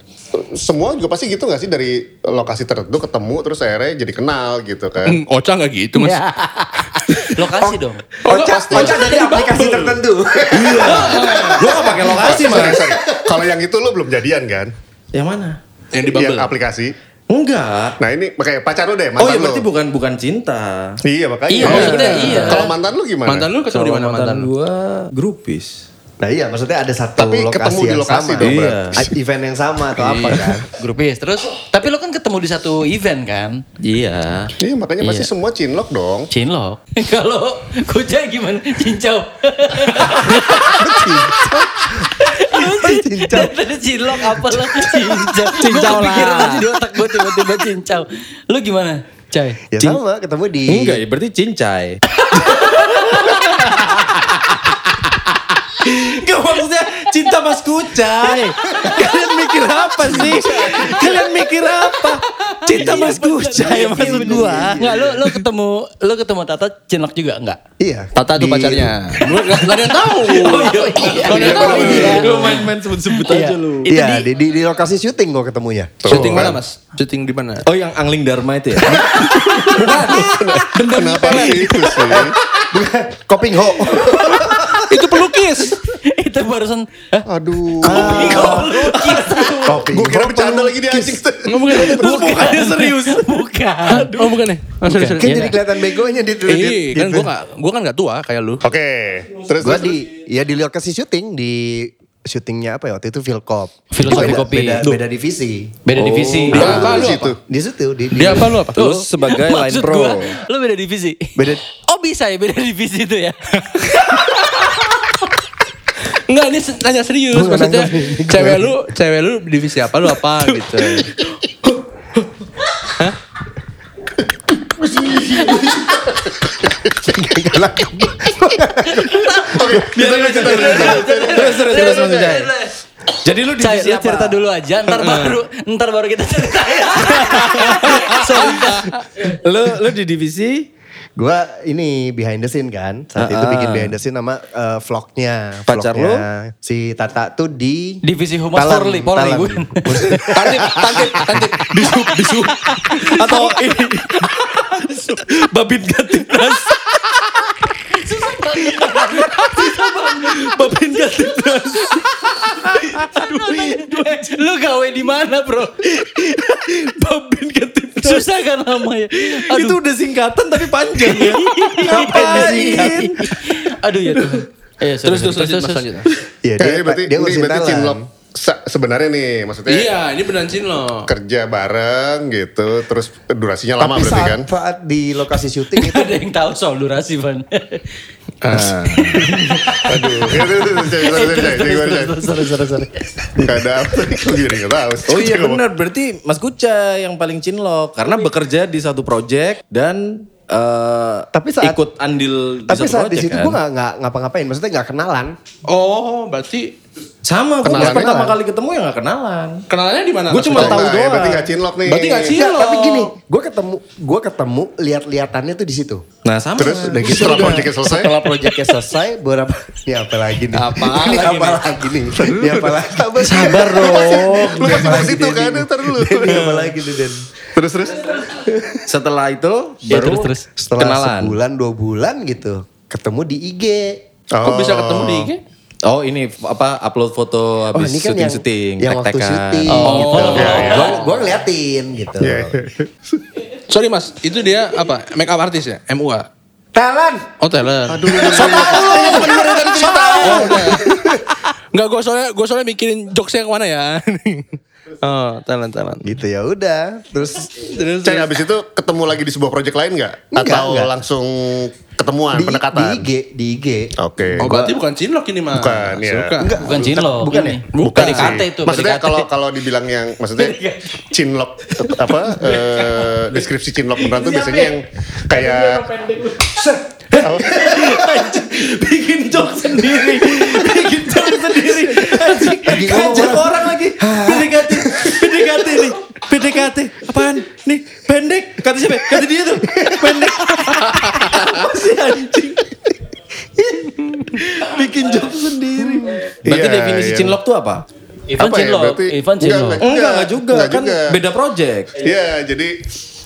[SPEAKER 6] semua juga pasti gitu nggak sih dari lokasi tertentu ketemu terus akhirnya jadi kenal gitu kan
[SPEAKER 1] Hmm, Ocha enggak gitu, Mas.
[SPEAKER 5] Iya. Lokasi dong.
[SPEAKER 6] Oca- Oca
[SPEAKER 2] dari aplikasi tertentu. Iya.
[SPEAKER 3] Gue gak pakai lokasi, Mas.
[SPEAKER 6] Sorry, sorry. kalau yang itu lo belum jadian kan
[SPEAKER 3] Yang mana?
[SPEAKER 1] Yang di Bumble.
[SPEAKER 6] yang aplikasi
[SPEAKER 3] Enggak.
[SPEAKER 6] nah ini makanya pacar lo deh mantan
[SPEAKER 3] Oh iya,
[SPEAKER 6] lo.
[SPEAKER 3] berarti bukan bukan cinta.
[SPEAKER 6] iya makanya
[SPEAKER 5] Iya, maksudnya iya.
[SPEAKER 6] kalau mantan lo gimana
[SPEAKER 1] Mantan lu ketemu
[SPEAKER 3] Kalau
[SPEAKER 1] di mana mantan lu?
[SPEAKER 3] gua grupis.
[SPEAKER 2] Nah iya maksudnya ada satu
[SPEAKER 6] Tapi
[SPEAKER 2] lokasi
[SPEAKER 6] ketemu di
[SPEAKER 2] yang
[SPEAKER 6] lokasi
[SPEAKER 2] sama.
[SPEAKER 6] dong,
[SPEAKER 2] Iya.
[SPEAKER 6] berarti.
[SPEAKER 2] Event yang sama atau apa kan.
[SPEAKER 5] Grupis. Terus, tapi lo kan ketemu di satu event kan?
[SPEAKER 3] Iya.
[SPEAKER 6] iya makanya pasti
[SPEAKER 5] Iya.
[SPEAKER 6] semua cinlok dong
[SPEAKER 5] Cinlok. Kalau Kucai gimana? Cincau.
[SPEAKER 2] Cincau.
[SPEAKER 5] Daripada cinlok apa lo? Cincau. Cincau
[SPEAKER 2] lah.
[SPEAKER 5] Gue tadi di otak gue tiba-tiba cincau. Lo gimana? Cai.
[SPEAKER 2] Ya
[SPEAKER 3] Cin-
[SPEAKER 2] sama ketemu di
[SPEAKER 1] Iya.
[SPEAKER 3] Enggak, ya berarti cincai. Enggak maksudnya cinta mas kucai. Kalian mikir apa sih? Kalian mikir apa? Cinta
[SPEAKER 1] Iya,
[SPEAKER 3] mas kucai maksud gua.
[SPEAKER 5] Enggak, lo lo ketemu lo ketemu Tata cinlok juga enggak?
[SPEAKER 2] Iya.
[SPEAKER 1] Tata tuh
[SPEAKER 2] Di-
[SPEAKER 1] pacarnya.
[SPEAKER 3] Gitu.
[SPEAKER 1] Gue gak ada yang tahu.
[SPEAKER 5] Oh, iya.
[SPEAKER 3] Lu main-main sebut-sebut aja lu.
[SPEAKER 5] Itu
[SPEAKER 2] Iya, di, di, di lokasi syuting gua ketemunya.
[SPEAKER 1] Syuting
[SPEAKER 3] Iya.
[SPEAKER 6] Tuh,
[SPEAKER 1] mana,
[SPEAKER 6] kan.
[SPEAKER 1] Mas? Syuting di mana?
[SPEAKER 5] iya.
[SPEAKER 3] Oh yang Angling Dharma itu ya?
[SPEAKER 6] kenapa itu sih
[SPEAKER 2] Koping Ho.
[SPEAKER 1] Itu pelukis.
[SPEAKER 5] Itu barusan Hah?
[SPEAKER 6] aduh
[SPEAKER 2] Koping
[SPEAKER 6] gue kira
[SPEAKER 2] Ho.
[SPEAKER 6] bercanda lagi dia anjing
[SPEAKER 1] Enggak bukan.
[SPEAKER 5] Bukannya serius. Bukan.
[SPEAKER 1] Oh, bukan ya. Oh, sorry, sorry.
[SPEAKER 2] Kan jadi kelihatan begonya di
[SPEAKER 1] Iya, kan gue gak, gue kan gak tua kayak lu.
[SPEAKER 6] Oke, terus
[SPEAKER 2] Gue
[SPEAKER 6] terus,
[SPEAKER 2] di ya di lokasi syuting di syutingnya apa ya waktu itu Vilkop.
[SPEAKER 5] Vilkop,
[SPEAKER 2] Beda-
[SPEAKER 5] Vilkopi.
[SPEAKER 2] Beda,
[SPEAKER 5] Duh.
[SPEAKER 2] beda divisi.
[SPEAKER 5] Beda divisi.
[SPEAKER 6] terus.
[SPEAKER 1] Dia apa,
[SPEAKER 6] Di
[SPEAKER 1] lu
[SPEAKER 6] situ.
[SPEAKER 2] Di situ di, di-
[SPEAKER 1] Dia apa lu apa?
[SPEAKER 3] Lu sebagai line
[SPEAKER 5] Maksud
[SPEAKER 3] pro.
[SPEAKER 5] gua, lo beda divisi.
[SPEAKER 2] Beda.
[SPEAKER 5] Oh bisa ya beda divisi itu ya.
[SPEAKER 1] Enggak, ini se- tanya serius.
[SPEAKER 2] Gua nggak
[SPEAKER 1] Maksudnya
[SPEAKER 2] nangkep ini, gua.
[SPEAKER 1] cewek lu, cewek lu divisi apa lu apa gitu.
[SPEAKER 6] Biar aja, biar aja.
[SPEAKER 3] Terus terus terus Mas Kucai. Jadi lu
[SPEAKER 5] Cai,
[SPEAKER 3] divisi
[SPEAKER 5] lu
[SPEAKER 3] apa?
[SPEAKER 5] cerita dulu aja, ntar baru ntar baru kita ceritain. Sorry, Kak.
[SPEAKER 3] Lu lu di divisi
[SPEAKER 2] Gua ini behind the scene kan. Saat itu bikin behind the scene sama eh, vlognya.
[SPEAKER 3] Pacar lu?
[SPEAKER 2] Vlognya Si Tata tuh di
[SPEAKER 5] Divisi Humas
[SPEAKER 2] Talan,
[SPEAKER 5] Polri, Polri
[SPEAKER 2] Talan.
[SPEAKER 5] gue.
[SPEAKER 1] Tantip, tantip, tantip. Bisu, bisu.
[SPEAKER 3] atau ini babin gatipnas babin gatipnas
[SPEAKER 5] Lu gawe di mana, Bro?
[SPEAKER 3] babin gatipnas
[SPEAKER 5] Susah kan namanya. Aduh. Iya.
[SPEAKER 3] itu udah singkatan tapi panjang ya ngapain disingkat
[SPEAKER 5] Aduh ya Tuhan. Eh,
[SPEAKER 1] Terus,
[SPEAKER 5] sorry,
[SPEAKER 1] terus,
[SPEAKER 5] sorry.
[SPEAKER 1] lanjut, Mas, lanjut.
[SPEAKER 2] Iya,
[SPEAKER 6] Kayaknya berarti-
[SPEAKER 2] dia
[SPEAKER 6] Eh, ini
[SPEAKER 2] ngurusin
[SPEAKER 6] berarti
[SPEAKER 2] Thailand.
[SPEAKER 6] cinlok. se- sebenarnya nih maksudnya
[SPEAKER 1] Iya, ini beneran Cin loh.
[SPEAKER 6] kerja bareng gitu terus durasinya lama
[SPEAKER 2] Tapi
[SPEAKER 6] berarti
[SPEAKER 2] saat,
[SPEAKER 6] kan
[SPEAKER 2] saat di lokasi syuting itu
[SPEAKER 5] ada yang tahu soal durasi Van.
[SPEAKER 6] aduh itu
[SPEAKER 2] sorry sorry sorry.
[SPEAKER 6] nggak ada apa Kok jadi nggak tahu
[SPEAKER 3] Oh iya benar, berarti Mas Kuca yang paling cinlok karena bekerja di satu project dan eh,
[SPEAKER 2] Tapi saat-
[SPEAKER 3] ikut andil di
[SPEAKER 2] Tapi
[SPEAKER 3] satu
[SPEAKER 2] saat di
[SPEAKER 3] project
[SPEAKER 2] situ
[SPEAKER 3] kan.
[SPEAKER 2] gue gak, nggak ngapa-ngapain, maksudnya gak kenalan.
[SPEAKER 1] Oh, berarti
[SPEAKER 3] sama gue
[SPEAKER 6] Kenalan.
[SPEAKER 3] pertama kali ketemu ya nggak kenalan.
[SPEAKER 1] kenalannya di mana?
[SPEAKER 3] Gue cuma
[SPEAKER 6] Berarti
[SPEAKER 3] tahu
[SPEAKER 6] nggak, ya,
[SPEAKER 3] doang.
[SPEAKER 6] berarti nggak cinlok nih.
[SPEAKER 3] Berarti nggak
[SPEAKER 2] Enggak,
[SPEAKER 3] cinlok.
[SPEAKER 2] tapi gini, gue ketemu, gue ketemu lihat-lihatannya tuh di situ.
[SPEAKER 3] Nah sama.
[SPEAKER 6] terus udah gitu setelah proyeknya selesai
[SPEAKER 2] Setelah proyeknya selesai, berapa? Ini apa lagi nih?
[SPEAKER 1] Apa
[SPEAKER 2] ini
[SPEAKER 1] lagi
[SPEAKER 2] apa
[SPEAKER 1] nih?
[SPEAKER 2] lagi nih? Ini apa lagi?
[SPEAKER 3] Sabar dong.
[SPEAKER 6] lu masih bahas itu kan ntar dulu
[SPEAKER 2] Ini apa lagi nih Den?
[SPEAKER 6] terus terus
[SPEAKER 3] Setelah itu
[SPEAKER 5] Ya,
[SPEAKER 3] baru
[SPEAKER 5] terus, terus.
[SPEAKER 2] Setelah
[SPEAKER 3] kenalan.
[SPEAKER 2] sebulan dua bulan gitu, ketemu di IG.
[SPEAKER 1] Kok bisa ketemu di IG?
[SPEAKER 3] Oh ini apa upload foto
[SPEAKER 2] Oh
[SPEAKER 3] habis
[SPEAKER 2] ini kan yang,
[SPEAKER 3] syuting-syuting,
[SPEAKER 2] yang waktu
[SPEAKER 3] tek-tekan.
[SPEAKER 2] syuting.
[SPEAKER 3] Oh,
[SPEAKER 2] gitu. Gue gue ngeliatin gitu.
[SPEAKER 6] Iya, iya.
[SPEAKER 1] Sorry Mas, itu dia apa? Make up artis ya? MUA.
[SPEAKER 2] Talent.
[SPEAKER 1] Oh, talent.
[SPEAKER 6] aduh
[SPEAKER 1] iya. Oh, udah ya. Enggak, gue soalnya, gue soalnya mikirin jokesnya kemana ya. oh, talent, talent.
[SPEAKER 2] Gitu ya udah. Terus
[SPEAKER 1] Terus,
[SPEAKER 6] Ceng habis itu ketemu lagi di sebuah proyek lain nggak
[SPEAKER 2] Nggak,
[SPEAKER 6] atau
[SPEAKER 2] nggak.
[SPEAKER 6] langsung ketemuan
[SPEAKER 2] di, di
[SPEAKER 6] pendekatan
[SPEAKER 2] IG, di IG.
[SPEAKER 6] oke
[SPEAKER 1] oh, berarti bukan cinlok ini mah.
[SPEAKER 6] Bukan, iya.
[SPEAKER 1] Suka.
[SPEAKER 2] Enggak.
[SPEAKER 5] Bukan Cinlo.
[SPEAKER 2] Bukan
[SPEAKER 5] ini.
[SPEAKER 2] ya?
[SPEAKER 1] Bukan
[SPEAKER 6] sih.
[SPEAKER 5] PDKT itu.
[SPEAKER 6] Maksudnya
[SPEAKER 5] PDKT.
[SPEAKER 6] kalau kalau dibilang yang maksudnya cinlok apa eh, deskripsi cinlok beneran tuh biasanya yang kayak
[SPEAKER 3] bikin joke sendiri, bikin joke sendiri. Anjing,
[SPEAKER 2] Lagi ngomong
[SPEAKER 3] Ngajak
[SPEAKER 2] orang.
[SPEAKER 3] orang lagi PDKT, PDKT nih, PDKT. Apaan? Nih pendek. Kata siapa? Kata dia tuh pendek. Apa sih anjing? bikin joke sendiri. Berarti
[SPEAKER 6] Iya,
[SPEAKER 3] definisi
[SPEAKER 6] iya.
[SPEAKER 3] cinlok tuh apa?
[SPEAKER 5] Ivan
[SPEAKER 6] Apa ya,
[SPEAKER 5] Cinlo.
[SPEAKER 6] berarti-
[SPEAKER 5] Ivan
[SPEAKER 6] Enggak,
[SPEAKER 5] Cinlo.
[SPEAKER 6] enggak.
[SPEAKER 3] Enggak, enggak juga.
[SPEAKER 6] Enggak
[SPEAKER 3] kan
[SPEAKER 6] juga.
[SPEAKER 3] beda project.
[SPEAKER 6] Iya, jadi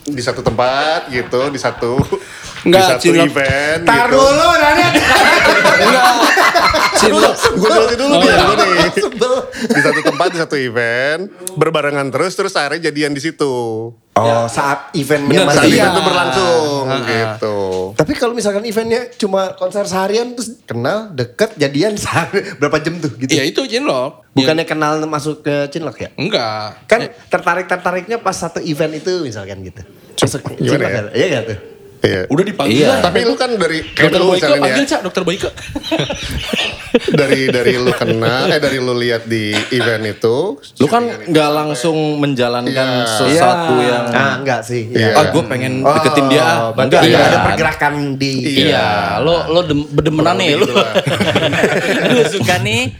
[SPEAKER 6] di satu tempat gitu, di satu
[SPEAKER 1] Nggak,
[SPEAKER 6] di satu
[SPEAKER 1] Cinlok.
[SPEAKER 6] event
[SPEAKER 2] Tar
[SPEAKER 6] gitu.
[SPEAKER 2] dulu nanya.
[SPEAKER 1] Cinlok.
[SPEAKER 6] Gue jelasin dulu
[SPEAKER 2] Oh, iya.
[SPEAKER 6] biar gua nih.
[SPEAKER 2] Sebel.
[SPEAKER 6] Di satu tempat, di satu event, berbarengan terus terus akhirnya jadian di situ.
[SPEAKER 2] Oh
[SPEAKER 6] Ya.
[SPEAKER 2] saat eventnya
[SPEAKER 3] Bener,
[SPEAKER 6] Saat
[SPEAKER 2] masih. ya.
[SPEAKER 3] Iya.
[SPEAKER 6] event itu berlangsung gitu.
[SPEAKER 2] Tapi kalau misalkan eventnya cuma konser seharian terus kenal, deket, jadian sehari, berapa jam tuh gitu.
[SPEAKER 1] Iya, itu cinlok.
[SPEAKER 2] Bukannya kenal masuk ke Cinlok ya?
[SPEAKER 1] Enggak.
[SPEAKER 2] Kan tertarik-tertariknya pas satu event itu misalkan gitu. Masuk ke
[SPEAKER 6] gimana
[SPEAKER 2] Cinlok
[SPEAKER 6] ya?
[SPEAKER 2] kan? Iya gak tuh?
[SPEAKER 6] Iya.
[SPEAKER 1] Udah dipanggil
[SPEAKER 3] Iya.
[SPEAKER 1] lah.
[SPEAKER 6] Tapi lu kan dari kayak
[SPEAKER 1] Dokter
[SPEAKER 6] lu
[SPEAKER 1] Boyke,
[SPEAKER 6] misalkan
[SPEAKER 1] panggil
[SPEAKER 6] ya,
[SPEAKER 1] Cak, dokter Boyke.
[SPEAKER 6] dari dari lu kenal, eh dari lu lihat di event itu,
[SPEAKER 3] Lu kan nggak langsung menjalankan
[SPEAKER 6] Iya.
[SPEAKER 3] sesuatu yang
[SPEAKER 2] Ah enggak sih.
[SPEAKER 6] Iya.
[SPEAKER 3] ah gue pengen deketin dia ah.
[SPEAKER 2] Oh, berarti
[SPEAKER 3] Enggak,
[SPEAKER 2] ada, ada
[SPEAKER 3] kan?
[SPEAKER 2] pergerakan di
[SPEAKER 5] Iya, lo lo dem, bedemenan nih lo.
[SPEAKER 6] Kurang lebih
[SPEAKER 5] lo suka nih,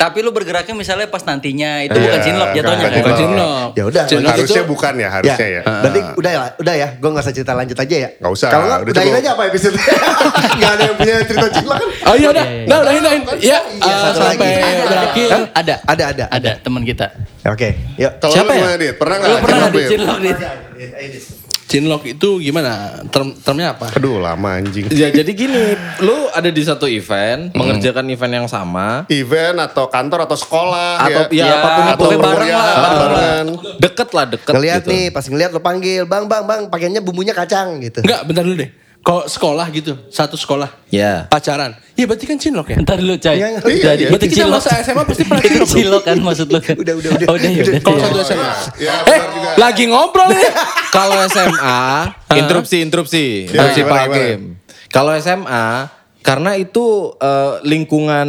[SPEAKER 5] tapi lo bergeraknya misalnya pas nantinya itu bukan
[SPEAKER 6] Iya,
[SPEAKER 5] cinlok jatuhnya
[SPEAKER 6] enggak,
[SPEAKER 5] kan.
[SPEAKER 1] Bukan
[SPEAKER 6] Oh.
[SPEAKER 1] cinlok.
[SPEAKER 2] Ya udah,
[SPEAKER 1] Cinlok itu
[SPEAKER 6] harusnya bukan ya, harusnya
[SPEAKER 4] Iya.
[SPEAKER 6] ya.
[SPEAKER 2] Berarti udah ya, udah ya. Gue gak usah cerita lanjut aja ya.
[SPEAKER 6] Nggak usah,
[SPEAKER 2] Kalau nggak,
[SPEAKER 6] udah
[SPEAKER 2] udahin
[SPEAKER 6] cukup.
[SPEAKER 2] aja apa episode. gak ada yang
[SPEAKER 6] Iya,
[SPEAKER 2] punya cerita cinta kan?
[SPEAKER 1] Oh iya udah, udah udahin udahin. Iya,
[SPEAKER 2] Iya,
[SPEAKER 1] eh,
[SPEAKER 2] satu lagi.
[SPEAKER 1] sampai
[SPEAKER 2] Ada,
[SPEAKER 1] berakhir.
[SPEAKER 5] Kan ada
[SPEAKER 2] Ada, ada,
[SPEAKER 5] ada teman kita.
[SPEAKER 2] Oke, yuk.
[SPEAKER 6] Kalau
[SPEAKER 5] Siapa
[SPEAKER 6] lu
[SPEAKER 5] ya?
[SPEAKER 6] gimana, Dit? Pernah
[SPEAKER 5] Lo
[SPEAKER 6] nggak? ya?
[SPEAKER 5] pernah nggak di
[SPEAKER 6] Dit?
[SPEAKER 5] cinlok nih?
[SPEAKER 1] Cinlok itu gimana? Term termnya apa?
[SPEAKER 6] Aduh lama anjing.
[SPEAKER 3] Ya jadi gini, lu ada di satu event, mengerjakan event yang sama,
[SPEAKER 6] event atau kantor atau sekolah
[SPEAKER 3] atau ya,
[SPEAKER 5] Ya,
[SPEAKER 3] apapun itu
[SPEAKER 5] pokoknya bareng
[SPEAKER 6] kuliah,
[SPEAKER 5] lah,
[SPEAKER 6] atau
[SPEAKER 5] bareng lah.
[SPEAKER 6] barengan.
[SPEAKER 3] deket lah deket
[SPEAKER 2] Ngeliat
[SPEAKER 3] gitu.
[SPEAKER 2] nih, pas ngeliat lo panggil, bang, bang, bang, pakainya bumbunya kacang gitu.
[SPEAKER 1] Enggak, bentar dulu deh. Kalau sekolah gitu, satu sekolah.
[SPEAKER 3] Ya.
[SPEAKER 1] Pacaran. Iya berarti kan cinlok ya?
[SPEAKER 5] Ntar dulu cai.
[SPEAKER 2] Iya, iya.
[SPEAKER 5] Jadi
[SPEAKER 1] Berarti kita masa SMA pasti pernah
[SPEAKER 5] Itu
[SPEAKER 1] cinlok. dong.
[SPEAKER 5] cinlok kan maksud lo kan.
[SPEAKER 2] Udah, udah, udah.
[SPEAKER 5] Oh, udah, ya udah.
[SPEAKER 1] Kalau satu SMA.
[SPEAKER 6] Iya, iya,
[SPEAKER 1] Eh,
[SPEAKER 6] benar juga.
[SPEAKER 1] lagi ngobrol nih.
[SPEAKER 3] Kalau SMA, interupsi interupsi,
[SPEAKER 6] Ya,
[SPEAKER 3] interupsi
[SPEAKER 6] gimana,
[SPEAKER 3] Pak
[SPEAKER 6] gimana?
[SPEAKER 3] Hakim. Kalau SMA karena itu eh, lingkungan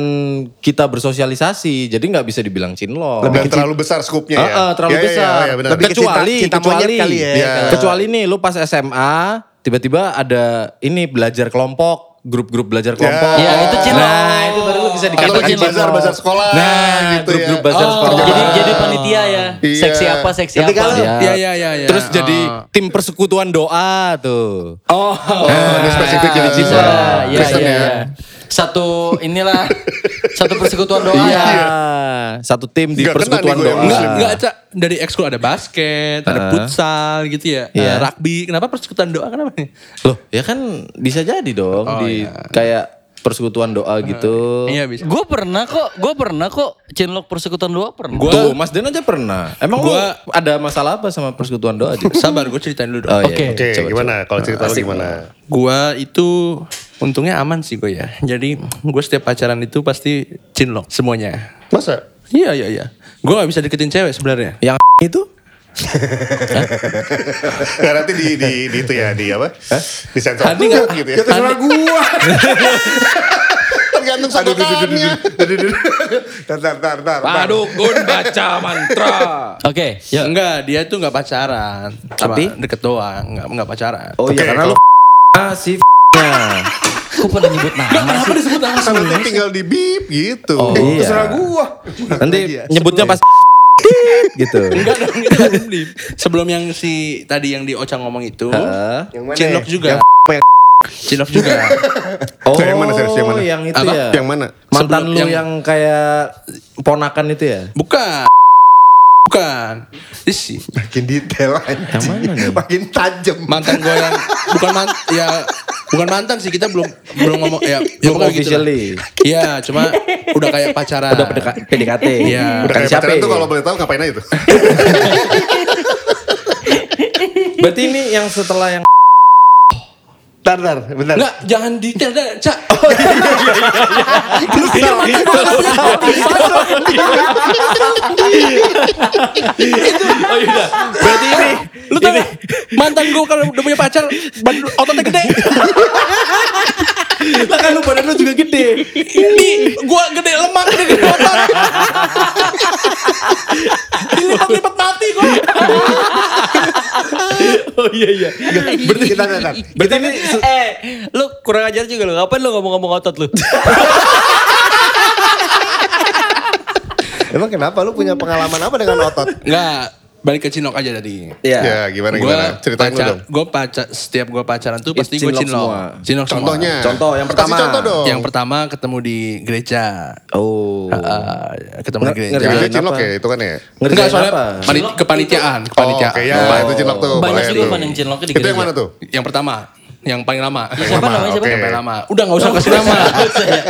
[SPEAKER 3] kita bersosialisasi, jadi nggak bisa dibilang cinlok.
[SPEAKER 6] Dan Oh. terlalu besar skupnya ya.
[SPEAKER 3] Heeh, terlalu
[SPEAKER 6] Iya, iya,
[SPEAKER 3] besar.
[SPEAKER 6] iya, benar.
[SPEAKER 2] Lebih- ke
[SPEAKER 3] kecuali
[SPEAKER 2] cinta- cinta
[SPEAKER 3] kecuali
[SPEAKER 2] monyet kali ya.
[SPEAKER 3] Iya.
[SPEAKER 6] Kalau-
[SPEAKER 3] kecuali nih lu pas SMA tiba-tiba ada ini belajar kelompok, grup-grup belajar kelompok.
[SPEAKER 5] Ya, itu cinlok.
[SPEAKER 3] Nah, itu baru lu bisa
[SPEAKER 6] Iya. atau
[SPEAKER 3] dikatakan gitu.
[SPEAKER 6] lagi
[SPEAKER 5] cinlok.
[SPEAKER 6] bazar bazar sekolah
[SPEAKER 3] Nah,
[SPEAKER 6] gitu ya.
[SPEAKER 3] grup-grup bazar
[SPEAKER 5] Oh,
[SPEAKER 3] sekolah.
[SPEAKER 5] jadi jadi panitia ya.
[SPEAKER 6] Iya.
[SPEAKER 5] Seksi apa seksi
[SPEAKER 2] Nanti
[SPEAKER 5] apa.
[SPEAKER 2] kalau-
[SPEAKER 5] Ya.
[SPEAKER 1] Iya, iya, iya, iya.
[SPEAKER 3] Terus jadi
[SPEAKER 1] Oh.
[SPEAKER 3] tim persekutuan doa tuh.
[SPEAKER 1] Oh,
[SPEAKER 6] Oh, ini spesifik jadi
[SPEAKER 5] Bisa,
[SPEAKER 6] cinta.
[SPEAKER 5] iya,
[SPEAKER 6] Kristen
[SPEAKER 5] iya,
[SPEAKER 6] ya.
[SPEAKER 5] iya. Satu inilah satu persekutuan doa
[SPEAKER 3] Iya.
[SPEAKER 5] ya.
[SPEAKER 3] Satu tim di
[SPEAKER 6] Nggak kena
[SPEAKER 3] persekutuan
[SPEAKER 6] nih gue yang
[SPEAKER 3] doa.
[SPEAKER 1] Enggak, enggak, Cak. Dari ekskul ada basket, ada futsal gitu ya.
[SPEAKER 3] Ah. Iya.
[SPEAKER 1] Eh, rugby. Kenapa persekutuan doa kenapa?
[SPEAKER 3] Loh, ya kan bisa jadi dong
[SPEAKER 1] Oh,
[SPEAKER 3] di
[SPEAKER 1] iya.
[SPEAKER 3] kayak persekutuan doa gitu.
[SPEAKER 1] Iya bisa.
[SPEAKER 5] Gue pernah kok, gue pernah kok cinlok persekutuan doa pernah.
[SPEAKER 1] Gua-
[SPEAKER 3] Tuh, Mas Den aja pernah. Emang
[SPEAKER 1] Gua-
[SPEAKER 3] lu ada masalah apa sama persekutuan doa aja?
[SPEAKER 1] Sabar, gue ceritain dulu dong.
[SPEAKER 3] Oh,
[SPEAKER 5] Oke.
[SPEAKER 3] iya.
[SPEAKER 6] Oke,
[SPEAKER 3] Coba,
[SPEAKER 6] gimana kalau cerita lu
[SPEAKER 3] Asik.
[SPEAKER 6] gimana?
[SPEAKER 1] Gua itu untungnya aman sih gue ya. Jadi gue setiap pacaran itu pasti cinlok semuanya.
[SPEAKER 6] Masa?
[SPEAKER 1] Iya iya iya. Gue gak bisa deketin cewek sebenarnya.
[SPEAKER 3] Yang itu?
[SPEAKER 6] Nah, nanti di, di, di itu ya di apa? Di sensor
[SPEAKER 1] Hani nggak-
[SPEAKER 6] gitu ya.
[SPEAKER 1] Ya, terserah
[SPEAKER 6] gua. Tergantung sedotannya. Tar tar tar tar.
[SPEAKER 3] Iya,
[SPEAKER 6] tar.
[SPEAKER 3] Padugun baca mantra.
[SPEAKER 5] Oke, yuk.
[SPEAKER 1] Ya, Enggak, dia tuh nggak pacaran. Cuma
[SPEAKER 3] Tapi?
[SPEAKER 1] deket doang, nggak nggak pacaran.
[SPEAKER 3] Oh iya
[SPEAKER 6] Oke,
[SPEAKER 3] karena lu
[SPEAKER 6] kalau-
[SPEAKER 3] Ah, si nya
[SPEAKER 5] Kok pernah nyebut nama sih?
[SPEAKER 1] disebut nama
[SPEAKER 6] Kan nanti tinggal di beep gitu.
[SPEAKER 3] Oh, iya. Terserah
[SPEAKER 6] gua. Iya,
[SPEAKER 3] Nanti nyebutnya pas gitu.
[SPEAKER 1] Enggak dong, itu kan beli. Sebelum yang si tadi yang di Ocang ngomong itu,
[SPEAKER 3] Heeh.
[SPEAKER 6] Yang mana? ya?
[SPEAKER 1] Cinlok juga.
[SPEAKER 6] Yang yang
[SPEAKER 1] Cinlok juga.
[SPEAKER 3] Oh,
[SPEAKER 6] Yang mana, Serius? Yang mana?
[SPEAKER 3] yang itu
[SPEAKER 1] Apa?
[SPEAKER 3] ya.
[SPEAKER 6] Yang mana?
[SPEAKER 3] Mantan
[SPEAKER 1] Sebelum
[SPEAKER 3] lu
[SPEAKER 1] yang-
[SPEAKER 3] yang kayak ponakan itu ya?
[SPEAKER 1] Bukan. Bukan. Ini si
[SPEAKER 6] Makin detail anjing.
[SPEAKER 3] mana nih?
[SPEAKER 6] Makin tajam.
[SPEAKER 1] mantan gue yang bukan mantan ya bukan mantan sih kita belum belum ngomong ya, ya
[SPEAKER 3] Belum
[SPEAKER 1] pokoknya gitu lah.
[SPEAKER 3] officially.
[SPEAKER 1] Iya, cuma udah kayak pacaran.
[SPEAKER 3] Udah PDK PDKT.
[SPEAKER 1] Iya.
[SPEAKER 6] Udah kayak
[SPEAKER 3] siapa? ya?
[SPEAKER 6] pacaran tuh kalau boleh tahu ngapain aja tuh.
[SPEAKER 3] Berarti ini yang setelah yang
[SPEAKER 6] Tar tar, bentar.
[SPEAKER 1] Enggak, jangan detail dah, Cak.
[SPEAKER 3] iya,
[SPEAKER 6] Lu salah.
[SPEAKER 3] Oh iya. Berarti ini
[SPEAKER 1] Lu tau gak? Mantan gue kalau udah punya pacar, ban- ototnya gede.
[SPEAKER 3] lah kan lu badan lu juga gede.
[SPEAKER 1] Ini gue gede lemak, gede gede otot. Dilipat-lipat mati gue.
[SPEAKER 3] Oh iya iya.
[SPEAKER 6] Berarti kita tar.
[SPEAKER 3] Berarti ini se-
[SPEAKER 5] Eh, lu kurang ajar juga lu. Ngapain lu ngomong-ngomong otot lu?
[SPEAKER 2] Emang kenapa lu punya pengalaman apa dengan otot?
[SPEAKER 1] Enggak, balik ke Cinok aja tadi.
[SPEAKER 3] ya.
[SPEAKER 6] Ya, gimana
[SPEAKER 1] Gua
[SPEAKER 6] gimana? Ceritain dulu
[SPEAKER 1] pacar,
[SPEAKER 6] dong.
[SPEAKER 1] Gue pacar, setiap gue pacaran
[SPEAKER 5] Iya,
[SPEAKER 1] tuh pasti gue
[SPEAKER 3] Cinlok
[SPEAKER 1] cinlok.
[SPEAKER 3] semua.
[SPEAKER 1] Cinlok semua.
[SPEAKER 6] Contohnya.
[SPEAKER 3] Contoh yang
[SPEAKER 6] Kasih
[SPEAKER 3] pertama.
[SPEAKER 6] Contoh dong.
[SPEAKER 1] Yang pertama ketemu di gereja.
[SPEAKER 3] Oh.
[SPEAKER 1] Uh, ketemu di
[SPEAKER 3] Nge-
[SPEAKER 1] gereja.
[SPEAKER 3] ngerjain
[SPEAKER 6] Itu
[SPEAKER 3] Apa?
[SPEAKER 6] cinlok ya itu kan ya.
[SPEAKER 3] Ngerjain
[SPEAKER 1] Enggak soalnya
[SPEAKER 3] apa?
[SPEAKER 1] pani- kepanitiaan, kepanitiaan.
[SPEAKER 6] Oh, oke, ya, itu cinlok tuh.
[SPEAKER 5] Banyak
[SPEAKER 6] boleh
[SPEAKER 5] juga
[SPEAKER 6] tuh.
[SPEAKER 5] kan yang cinloknya di
[SPEAKER 6] Itu yang
[SPEAKER 5] gereja.
[SPEAKER 6] mana tuh?
[SPEAKER 1] Yang pertama, yang paling lama.
[SPEAKER 5] Siapa namanya siapa? Oh.
[SPEAKER 6] oke.
[SPEAKER 1] Yang paling lama. Udah nggak usah kasih nama.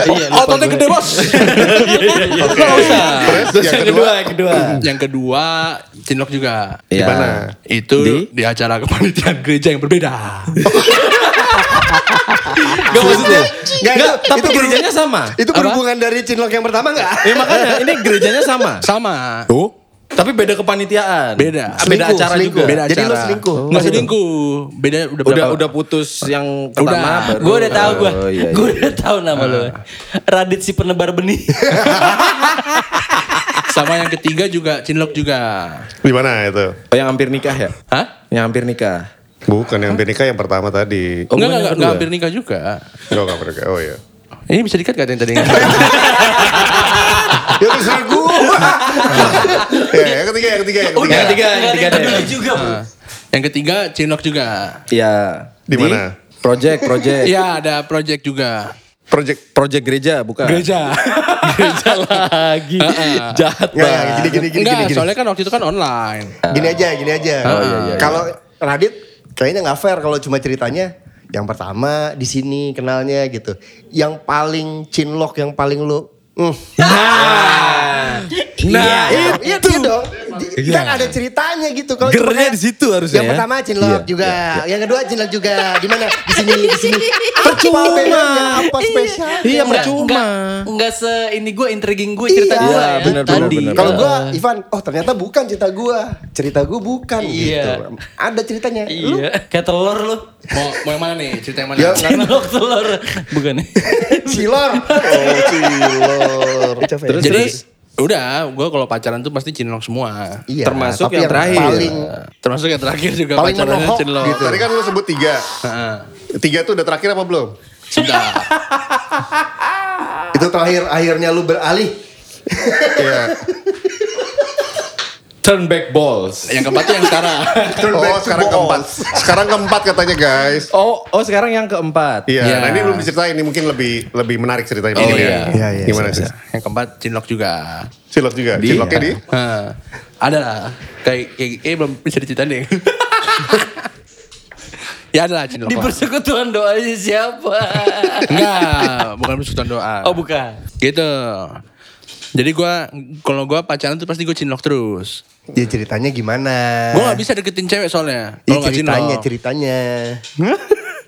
[SPEAKER 1] Oh,
[SPEAKER 5] Iya, lupa
[SPEAKER 1] Ototnya
[SPEAKER 5] gue.
[SPEAKER 1] gede bos.
[SPEAKER 6] Oke.
[SPEAKER 1] Nggak usah.
[SPEAKER 6] Terus yang kedua
[SPEAKER 3] yang Eh, kedua.
[SPEAKER 1] Yang kedua, cinlok juga.
[SPEAKER 3] Iya.
[SPEAKER 6] mana?
[SPEAKER 1] Itu di,
[SPEAKER 3] Di?
[SPEAKER 1] acara kepanitiaan gereja yang berbeda.
[SPEAKER 3] Gak maksudnya.
[SPEAKER 2] Nggak,
[SPEAKER 3] Enggak,
[SPEAKER 2] itu-
[SPEAKER 3] tapi
[SPEAKER 2] itu berhubung-
[SPEAKER 3] gerejanya sama.
[SPEAKER 2] Itu berhubungan dari cinlok yang pertama nggak?
[SPEAKER 3] Ya makanya ini gerejanya sama.
[SPEAKER 1] Sama.
[SPEAKER 3] Tuh. Tapi beda kepanitiaan.
[SPEAKER 1] Beda.
[SPEAKER 3] Ah, Beda
[SPEAKER 2] Selingkuh,
[SPEAKER 3] acara
[SPEAKER 2] selingkuh.
[SPEAKER 3] juga.
[SPEAKER 1] Beda
[SPEAKER 2] Jadi
[SPEAKER 1] acara.
[SPEAKER 2] lu selingkuh.
[SPEAKER 1] Nggak selingkuh. Beda udah
[SPEAKER 3] Udah
[SPEAKER 1] berapa-
[SPEAKER 3] udah putus yang pertama.
[SPEAKER 1] Udah.
[SPEAKER 3] baru-
[SPEAKER 5] Gue udah tahu gue,
[SPEAKER 3] Oh, iya,
[SPEAKER 5] gue
[SPEAKER 3] iya.
[SPEAKER 5] udah tahu nama lu. Radit si penebar benih.
[SPEAKER 1] Sama yang ketiga juga cinlok juga.
[SPEAKER 6] Di mana itu?
[SPEAKER 3] Oh, yang hampir nikah ya?
[SPEAKER 1] Hah?
[SPEAKER 3] Yang hampir nikah.
[SPEAKER 6] Bukan yang Benika yang pertama tadi.
[SPEAKER 1] Enggak,
[SPEAKER 3] Oh, bukan yang
[SPEAKER 1] enggak,
[SPEAKER 3] kedua?
[SPEAKER 1] enggak hampir nikah juga.
[SPEAKER 6] Enggak enggak pernah. Oh iya.
[SPEAKER 1] Ini bisa dikat gak yang tadi?
[SPEAKER 6] Ya terserah gua. Ya, yang ketiga, yang ketiga, yang ketiga.
[SPEAKER 3] Yang ketiga, yang
[SPEAKER 5] Nggak
[SPEAKER 3] ketiga
[SPEAKER 5] ada
[SPEAKER 3] deh.
[SPEAKER 5] benih juga. Bro.
[SPEAKER 1] yang ketiga cinlok juga.
[SPEAKER 3] Iya.
[SPEAKER 6] Di mana?
[SPEAKER 3] Project, project.
[SPEAKER 1] Iya ada project juga.
[SPEAKER 6] Project
[SPEAKER 3] Project gereja bukan?
[SPEAKER 1] Gereja.
[SPEAKER 5] Gereja lagi. Jahat
[SPEAKER 6] Nggak, nggak,
[SPEAKER 5] banget.
[SPEAKER 6] gini gini gini
[SPEAKER 1] Enggak,
[SPEAKER 6] gini. gini.
[SPEAKER 1] soalnya kan waktu itu kan online.
[SPEAKER 2] Gini aja, gini aja.
[SPEAKER 3] Oh, iya,
[SPEAKER 2] Kalau Radit kayaknya nggak fair kalau cuma ceritanya yang pertama di sini kenalnya gitu. Yang paling cinlok, yang paling lu Hmm.
[SPEAKER 3] Iya, Nah,
[SPEAKER 2] Iya, iya, iya dong. Di- Kan ada ceritanya gitu. Kalau cuma
[SPEAKER 3] Gernya
[SPEAKER 2] kayak-
[SPEAKER 3] Iya. di situ harusnya
[SPEAKER 2] Yang
[SPEAKER 3] ya.
[SPEAKER 2] pertama cinlok
[SPEAKER 3] Iya,
[SPEAKER 2] juga, yang kedua cinlok juga. Di mana? Di sini, di sini. Percuma. Apa spesial?
[SPEAKER 3] Iya,
[SPEAKER 5] Nggak-
[SPEAKER 3] percuma.
[SPEAKER 5] nggak- Nggak se ini gue intriguing gue cerita
[SPEAKER 2] Iya,
[SPEAKER 5] gue.
[SPEAKER 3] iya, benar, benar, benar.
[SPEAKER 2] Kalau gua
[SPEAKER 3] Iya.
[SPEAKER 2] Ivan, oh ternyata bukan cerita gua. Cerita gua bukan
[SPEAKER 5] Iya.
[SPEAKER 2] gitu. Ada ceritanya. Lu
[SPEAKER 5] Iya. Kayak telur lu.
[SPEAKER 1] Mau, mau yang mana nih? Cerita yang mana?
[SPEAKER 2] Ya,
[SPEAKER 5] Cilok telur. Bukan.
[SPEAKER 2] Cilor. Oh, cilor.
[SPEAKER 3] Terus,
[SPEAKER 1] Jadi
[SPEAKER 3] terus?
[SPEAKER 1] udah, gue kalau pacaran tuh pasti cinlok semua.
[SPEAKER 2] Iya,
[SPEAKER 3] Termasuk
[SPEAKER 2] tapi
[SPEAKER 3] yang terakhir.
[SPEAKER 2] Paling
[SPEAKER 1] Termasuk yang terakhir juga
[SPEAKER 2] Paling
[SPEAKER 1] pacarannya
[SPEAKER 2] menohok
[SPEAKER 1] cinlok.
[SPEAKER 2] gitu.
[SPEAKER 6] Tadi kan lu sebut tiga.
[SPEAKER 1] Heeh.
[SPEAKER 6] Tiga tuh udah terakhir apa belum?
[SPEAKER 1] Sudah.
[SPEAKER 2] itu terakhir akhirnya lu beralih.
[SPEAKER 6] Iya.
[SPEAKER 3] turn back balls.
[SPEAKER 1] yang keempat tuh yang sekarang.
[SPEAKER 6] Oh, sekarang keempat. Sekarang keempat katanya guys.
[SPEAKER 3] Oh, oh sekarang yang keempat.
[SPEAKER 6] Iya,
[SPEAKER 1] Iya.
[SPEAKER 6] nah ini belum diceritain, ini mungkin lebih lebih menarik ceritanya.
[SPEAKER 1] Oh,
[SPEAKER 6] Ini
[SPEAKER 1] iya.
[SPEAKER 6] ya.
[SPEAKER 2] Iya, iya,
[SPEAKER 6] Gimana sih?
[SPEAKER 1] yang keempat cinlok juga.
[SPEAKER 6] Cilok juga, ciloknya di?
[SPEAKER 1] Heeh. ada lah. Kayak, kayak, kayak belum bisa diceritain deh. ya ada lah cinlok.
[SPEAKER 5] Di
[SPEAKER 1] lah.
[SPEAKER 5] persekutuan doanya siapa?
[SPEAKER 1] Enggak, bukan persekutuan doa.
[SPEAKER 5] Oh bukan.
[SPEAKER 1] Gitu. Jadi gua kalau gua pacaran tuh pasti gua cinlok terus.
[SPEAKER 2] Ya ceritanya gimana?
[SPEAKER 1] Gua gak bisa deketin cewek soalnya.
[SPEAKER 2] Ya,
[SPEAKER 1] Kalau nggak
[SPEAKER 2] ceritanya,
[SPEAKER 1] cinlok.
[SPEAKER 2] ceritanya.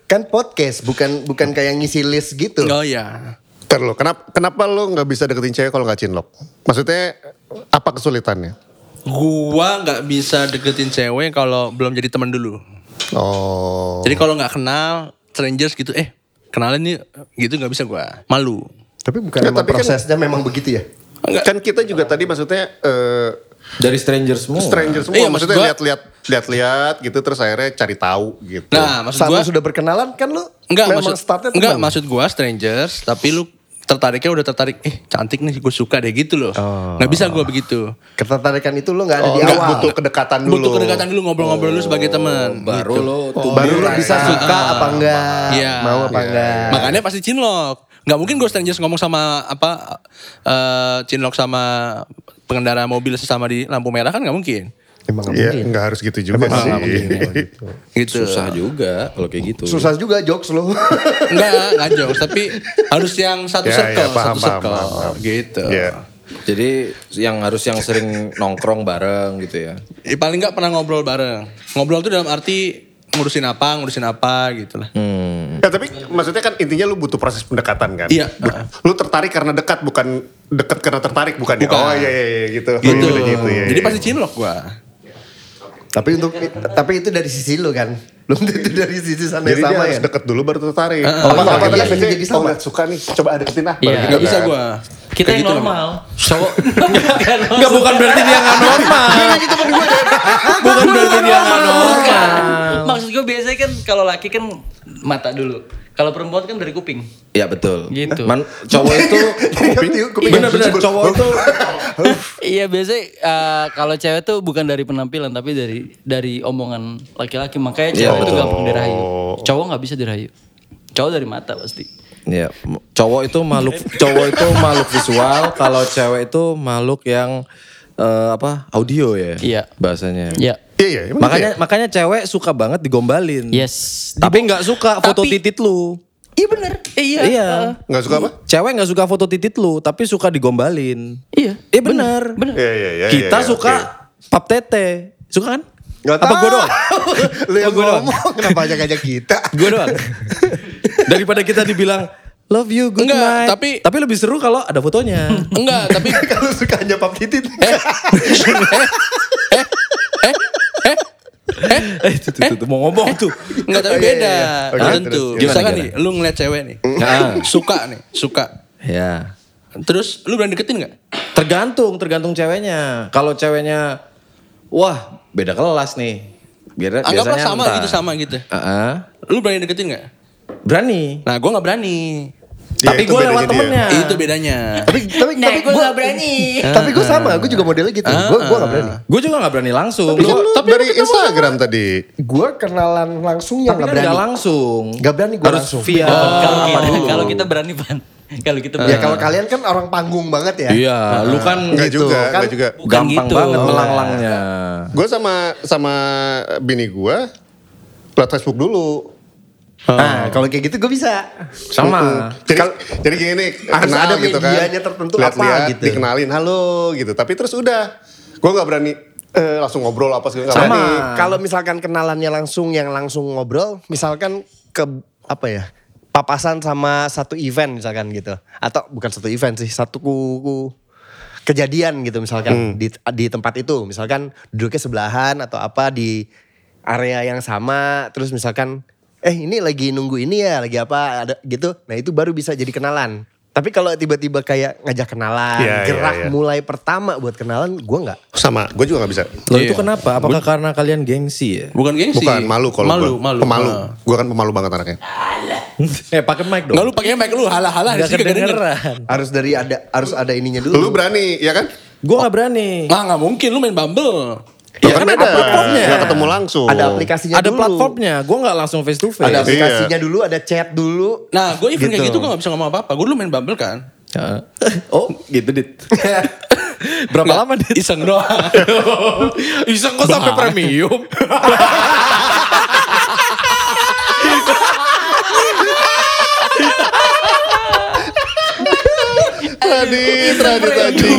[SPEAKER 2] kan podcast bukan bukan kayak ngisi list gitu.
[SPEAKER 1] Oh iya.
[SPEAKER 6] Ntar lo, kenapa kenapa lo nggak bisa deketin cewek kalau nggak cinlok? Maksudnya apa kesulitannya?
[SPEAKER 1] Gua nggak bisa deketin cewek kalau belum jadi teman dulu.
[SPEAKER 6] Oh.
[SPEAKER 1] Jadi kalau nggak kenal strangers gitu, eh kenalin nih gitu nggak bisa gua malu.
[SPEAKER 2] Tapi bukan
[SPEAKER 6] Ya,
[SPEAKER 2] memang
[SPEAKER 6] tapi kan-
[SPEAKER 2] prosesnya memang begitu ya?
[SPEAKER 6] Kan kita juga tadi maksudnya eh,
[SPEAKER 3] Dari stranger semua.
[SPEAKER 6] stranger semua,
[SPEAKER 1] Iya, maksud
[SPEAKER 6] maksudnya
[SPEAKER 1] gua-
[SPEAKER 6] lihat-lihat lihat-lihat gitu terus akhirnya cari tahu gitu.
[SPEAKER 1] Nah maksud
[SPEAKER 2] Saat
[SPEAKER 1] gua
[SPEAKER 2] lu sudah berkenalan kan lu
[SPEAKER 1] Enggak
[SPEAKER 2] memang
[SPEAKER 1] maksud
[SPEAKER 2] startnya
[SPEAKER 1] enggak
[SPEAKER 2] teman.
[SPEAKER 1] maksud gua strangers tapi lu tertariknya udah tertarik eh cantik nih gue suka deh gitu loh
[SPEAKER 2] Oh.
[SPEAKER 1] nggak bisa gua begitu
[SPEAKER 2] Ketertarikan itu lu nggak ada
[SPEAKER 6] Oh,
[SPEAKER 2] di
[SPEAKER 6] nggak,
[SPEAKER 2] awal.
[SPEAKER 6] butuh kedekatan dulu.
[SPEAKER 1] butuh kedekatan dulu ngobrol-ngobrol dulu sebagai teman
[SPEAKER 3] Baru
[SPEAKER 1] gitu.
[SPEAKER 3] lo tuh.
[SPEAKER 2] Oh, Baru lu Iya, bisa suka apa enggak,
[SPEAKER 1] Iya.
[SPEAKER 2] mau apa enggak.
[SPEAKER 1] makanya pasti cinlok nggak mungkin gue strangers ngomong sama apa eh cinlok sama pengendara mobil sesama di lampu merah kan nggak mungkin
[SPEAKER 2] Emang nggak
[SPEAKER 6] Iya,
[SPEAKER 2] mungkin.
[SPEAKER 6] nggak harus gitu juga
[SPEAKER 2] Emang
[SPEAKER 6] sih.
[SPEAKER 2] nggak mungkin.
[SPEAKER 1] gitu
[SPEAKER 3] Susah juga kalau kayak gitu.
[SPEAKER 2] Susah juga jokes lu.
[SPEAKER 1] Enggak, nggak jokes tapi harus yang satu
[SPEAKER 6] Ya,
[SPEAKER 1] circle
[SPEAKER 6] ya, paham,
[SPEAKER 1] satu
[SPEAKER 6] paham,
[SPEAKER 1] circle
[SPEAKER 6] paham, paham.
[SPEAKER 1] gitu
[SPEAKER 6] Iya.
[SPEAKER 3] Jadi yang harus yang sering nongkrong bareng gitu ya.
[SPEAKER 1] Ya, paling nggak pernah ngobrol bareng. Ngobrol tuh dalam arti ngurusin apa, ngurusin apa gitu lah.
[SPEAKER 3] Hmm.
[SPEAKER 6] Ya, tapi maksudnya kan intinya lu butuh proses pendekatan kan?
[SPEAKER 1] Iya.
[SPEAKER 6] Bu- Lu tertarik karena dekat bukan dekat karena tertarik bukan, ya?
[SPEAKER 1] Bukan.
[SPEAKER 6] Oh iya iya iya gitu.
[SPEAKER 1] Gitu.
[SPEAKER 6] Oh, iya, gitu, iya,
[SPEAKER 1] Jadi
[SPEAKER 6] iya.
[SPEAKER 1] pasti cinlok gua.
[SPEAKER 2] tapi untuk tapi itu dari sisi lu kan. Belum tentu dari sisi sana yang
[SPEAKER 6] Jadi dia
[SPEAKER 2] sama
[SPEAKER 6] harus
[SPEAKER 2] ya.
[SPEAKER 6] deket dulu baru tertarik.
[SPEAKER 1] Heeh.
[SPEAKER 6] apa
[SPEAKER 2] Iya,
[SPEAKER 6] apa
[SPEAKER 2] iya,
[SPEAKER 6] tadi
[SPEAKER 2] iya,
[SPEAKER 6] biasanya,
[SPEAKER 2] jadi sama.
[SPEAKER 6] Oh, nggak suka nih, coba deketin lah.
[SPEAKER 5] Iya.
[SPEAKER 1] Nggak bisa
[SPEAKER 6] kan.
[SPEAKER 1] gua.
[SPEAKER 5] Kita
[SPEAKER 1] Kayak
[SPEAKER 5] yang
[SPEAKER 1] gitu
[SPEAKER 5] normal. Cowok.
[SPEAKER 3] Enggak bukan berarti dia nggak normal. bukan berarti dia nggak normal.
[SPEAKER 5] Maksud gue biasanya kan kalau laki kan mata dulu. Kalau perempuan kan dari kuping.
[SPEAKER 3] Ya betul.
[SPEAKER 5] Gitu.
[SPEAKER 3] Man, cowok itu benar-benar cowok itu
[SPEAKER 5] Iya biasanya eh, kalau cewek tuh bukan dari penampilan tapi dari dari omongan laki-laki. Makanya
[SPEAKER 3] Iya,
[SPEAKER 5] cewek tuh
[SPEAKER 3] betul.
[SPEAKER 5] gampang dirayu. Cowok nggak bisa dirayu. Cowok dari mata pasti.
[SPEAKER 3] Ya, m- cowok itu makhluk cowok itu makhluk visual, kalau cewek itu makhluk yang eh, apa? Audio ya.
[SPEAKER 5] Iya.
[SPEAKER 3] Bahasanya.
[SPEAKER 5] Ya.
[SPEAKER 6] Iya iya. emang
[SPEAKER 3] Makanya
[SPEAKER 6] gitu
[SPEAKER 3] makanya cewek suka banget digombalin.
[SPEAKER 5] Yes.
[SPEAKER 3] Tapi nggak suka foto
[SPEAKER 5] Tapi-
[SPEAKER 3] titit lu.
[SPEAKER 5] Iya bener. Eh, iya.
[SPEAKER 3] Iya.
[SPEAKER 5] Heeh.
[SPEAKER 6] ya? nggak suka apa?
[SPEAKER 3] Cewek nggak suka foto titit lu, tapi suka digombalin.
[SPEAKER 5] Iya.
[SPEAKER 3] Eh benar.
[SPEAKER 5] Bener.
[SPEAKER 6] Iya iya iya.
[SPEAKER 3] Kita
[SPEAKER 6] iya, iya,
[SPEAKER 3] suka
[SPEAKER 6] oke.
[SPEAKER 3] pap tete. Suka kan?
[SPEAKER 2] Nggak
[SPEAKER 3] Apa
[SPEAKER 2] tahu.
[SPEAKER 3] gue doang?
[SPEAKER 2] Lu yang
[SPEAKER 3] Apa Oh, gua doang?
[SPEAKER 2] ngomong kenapa ajak-ajak kita?
[SPEAKER 3] Gue doang. Daripada kita dibilang love you good
[SPEAKER 1] Enggak,
[SPEAKER 3] night.
[SPEAKER 1] tapi-
[SPEAKER 3] tapi lebih seru kalau ada fotonya.
[SPEAKER 1] Enggak, tapi
[SPEAKER 2] Kalau suka hanya pap titit.
[SPEAKER 3] eh, tuh, tuh, tuh, tuh, mau ngomong tuh.
[SPEAKER 1] enggak
[SPEAKER 6] Oh,
[SPEAKER 1] tapi
[SPEAKER 2] iya,
[SPEAKER 1] beda. Nah,
[SPEAKER 2] iya.
[SPEAKER 6] Oke,
[SPEAKER 1] Tentu.
[SPEAKER 6] terus,
[SPEAKER 3] gimana,
[SPEAKER 1] Misalkan
[SPEAKER 3] gimana?
[SPEAKER 1] nih, lu ngeliat cewek nih.
[SPEAKER 3] Heeh.
[SPEAKER 1] suka nih, suka.
[SPEAKER 3] Ya.
[SPEAKER 1] Terus lu berani deketin nggak?
[SPEAKER 3] Tergantung, tergantung ceweknya. Kalau ceweknya wah, beda kelas nih. Biar,
[SPEAKER 1] Anggaplah
[SPEAKER 3] biasanya
[SPEAKER 1] sama
[SPEAKER 3] entah.
[SPEAKER 1] gitu sama gitu.
[SPEAKER 3] Heeh.
[SPEAKER 1] Lu berani deketin nggak?
[SPEAKER 3] Berani.
[SPEAKER 1] Nah, gua nggak berani.
[SPEAKER 6] Iya,
[SPEAKER 3] tapi
[SPEAKER 6] itu
[SPEAKER 3] gue lewat
[SPEAKER 6] bedanya dia.
[SPEAKER 3] temennya.
[SPEAKER 1] Itu bedanya.
[SPEAKER 2] tapi tapi tapi gue gak berani. Tapi gue sama, gue juga modelnya gitu. Gue gue gak berani.
[SPEAKER 3] Gue juga gak berani langsung.
[SPEAKER 6] Tapi kan
[SPEAKER 3] Gua-
[SPEAKER 6] lu dari Instagram tadi.
[SPEAKER 2] Gue kenalan langsungnya
[SPEAKER 3] tapi
[SPEAKER 2] gak
[SPEAKER 3] kan nggak
[SPEAKER 2] berani.
[SPEAKER 3] langsung.
[SPEAKER 2] Nggak berani gua
[SPEAKER 3] Harus
[SPEAKER 2] langsung.
[SPEAKER 3] via
[SPEAKER 5] Kalau
[SPEAKER 3] apa
[SPEAKER 5] kita,
[SPEAKER 3] dulu.
[SPEAKER 5] kalau kita berani pan. Kalau kita berani.
[SPEAKER 2] Ya kalau kalian kan orang panggung banget ya.
[SPEAKER 3] Iya, lu kan
[SPEAKER 6] Enggak
[SPEAKER 2] Gitu,
[SPEAKER 6] juga,
[SPEAKER 2] kan?
[SPEAKER 6] enggak juga.
[SPEAKER 5] Bukan
[SPEAKER 3] gampang
[SPEAKER 5] gitu.
[SPEAKER 3] banget melanglangnya.
[SPEAKER 6] Gue sama sama bini gue lewat Facebook dulu.
[SPEAKER 2] Nah, kalau kayak gitu gue bisa.
[SPEAKER 3] Sama.
[SPEAKER 6] Gitu. Jadi, jadi gini nih,
[SPEAKER 2] Harus
[SPEAKER 6] kenal
[SPEAKER 2] ada
[SPEAKER 6] gitu kan.
[SPEAKER 2] medianya tertentu
[SPEAKER 6] Lihat-lihat,
[SPEAKER 2] apa gitu.
[SPEAKER 6] Dikenalin, halo gitu. Tapi terus udah, gue nggak berani eh, langsung ngobrol apa segala nggak
[SPEAKER 2] Sama.
[SPEAKER 6] berani.
[SPEAKER 2] Kalau misalkan kenalannya langsung yang langsung ngobrol, misalkan ke apa ya? Papasan sama satu event misalkan gitu. Atau bukan satu event sih, satu ku- ku- kejadian gitu
[SPEAKER 6] Hmm.
[SPEAKER 2] misalkan di di tempat itu. Misalkan duduknya sebelahan atau apa di area yang sama, terus misalkan eh ini lagi nunggu ini ya, lagi apa ada gitu. Nah, itu baru bisa jadi kenalan. Tapi kalau tiba-tiba kayak ngajak kenalan,
[SPEAKER 6] Iya, iya,
[SPEAKER 2] gerak
[SPEAKER 6] iya.
[SPEAKER 2] mulai pertama buat kenalan, gua nggak.
[SPEAKER 6] Sama, gue juga nggak bisa.
[SPEAKER 3] Lo itu kenapa? Apakah karena kalian gengsi ya?
[SPEAKER 1] Bukan
[SPEAKER 5] Iya
[SPEAKER 1] gengsi.
[SPEAKER 6] Bukan malu kalau
[SPEAKER 1] malu,
[SPEAKER 6] gua.
[SPEAKER 1] malu.
[SPEAKER 6] Pemalu.
[SPEAKER 5] Ah.
[SPEAKER 1] Nah.
[SPEAKER 6] Gue kan pemalu banget anaknya.
[SPEAKER 3] eh, pakai mic
[SPEAKER 1] Nggak
[SPEAKER 3] dong.
[SPEAKER 1] Nah, lu pakai mic lu halah-halah di
[SPEAKER 3] Gak
[SPEAKER 1] sini kagak denger.
[SPEAKER 3] kedengeran.
[SPEAKER 2] Harus dari ada harus ada ininya dulu.
[SPEAKER 6] Lu berani, ya kan?
[SPEAKER 3] Gue gak berani.
[SPEAKER 1] Ah, nggak mungkin lu main Bumble.
[SPEAKER 6] Lu
[SPEAKER 3] Ya,
[SPEAKER 6] kan
[SPEAKER 3] kan ada
[SPEAKER 5] Iya.
[SPEAKER 6] beda,
[SPEAKER 3] platformnya.
[SPEAKER 6] nggak ketemu langsung.
[SPEAKER 2] ada aplikasinya
[SPEAKER 3] ada
[SPEAKER 2] Ya dulu.
[SPEAKER 3] platformnya, gue nggak langsung face to face.
[SPEAKER 2] Ada
[SPEAKER 6] Iya.
[SPEAKER 2] aplikasinya dulu, ada chat dulu.
[SPEAKER 1] Nah, gue even kayak
[SPEAKER 2] Gitu.
[SPEAKER 1] gitu gue gak bisa ngomong apa-apa. Gue dulu main Bumble kan.
[SPEAKER 3] Ya. Oh gitu dit. Berapa
[SPEAKER 1] Nggak,
[SPEAKER 3] lama dit?
[SPEAKER 1] Iseng doang.
[SPEAKER 3] Iseng kok sampai premium?
[SPEAKER 6] Radit, Radit, Radit.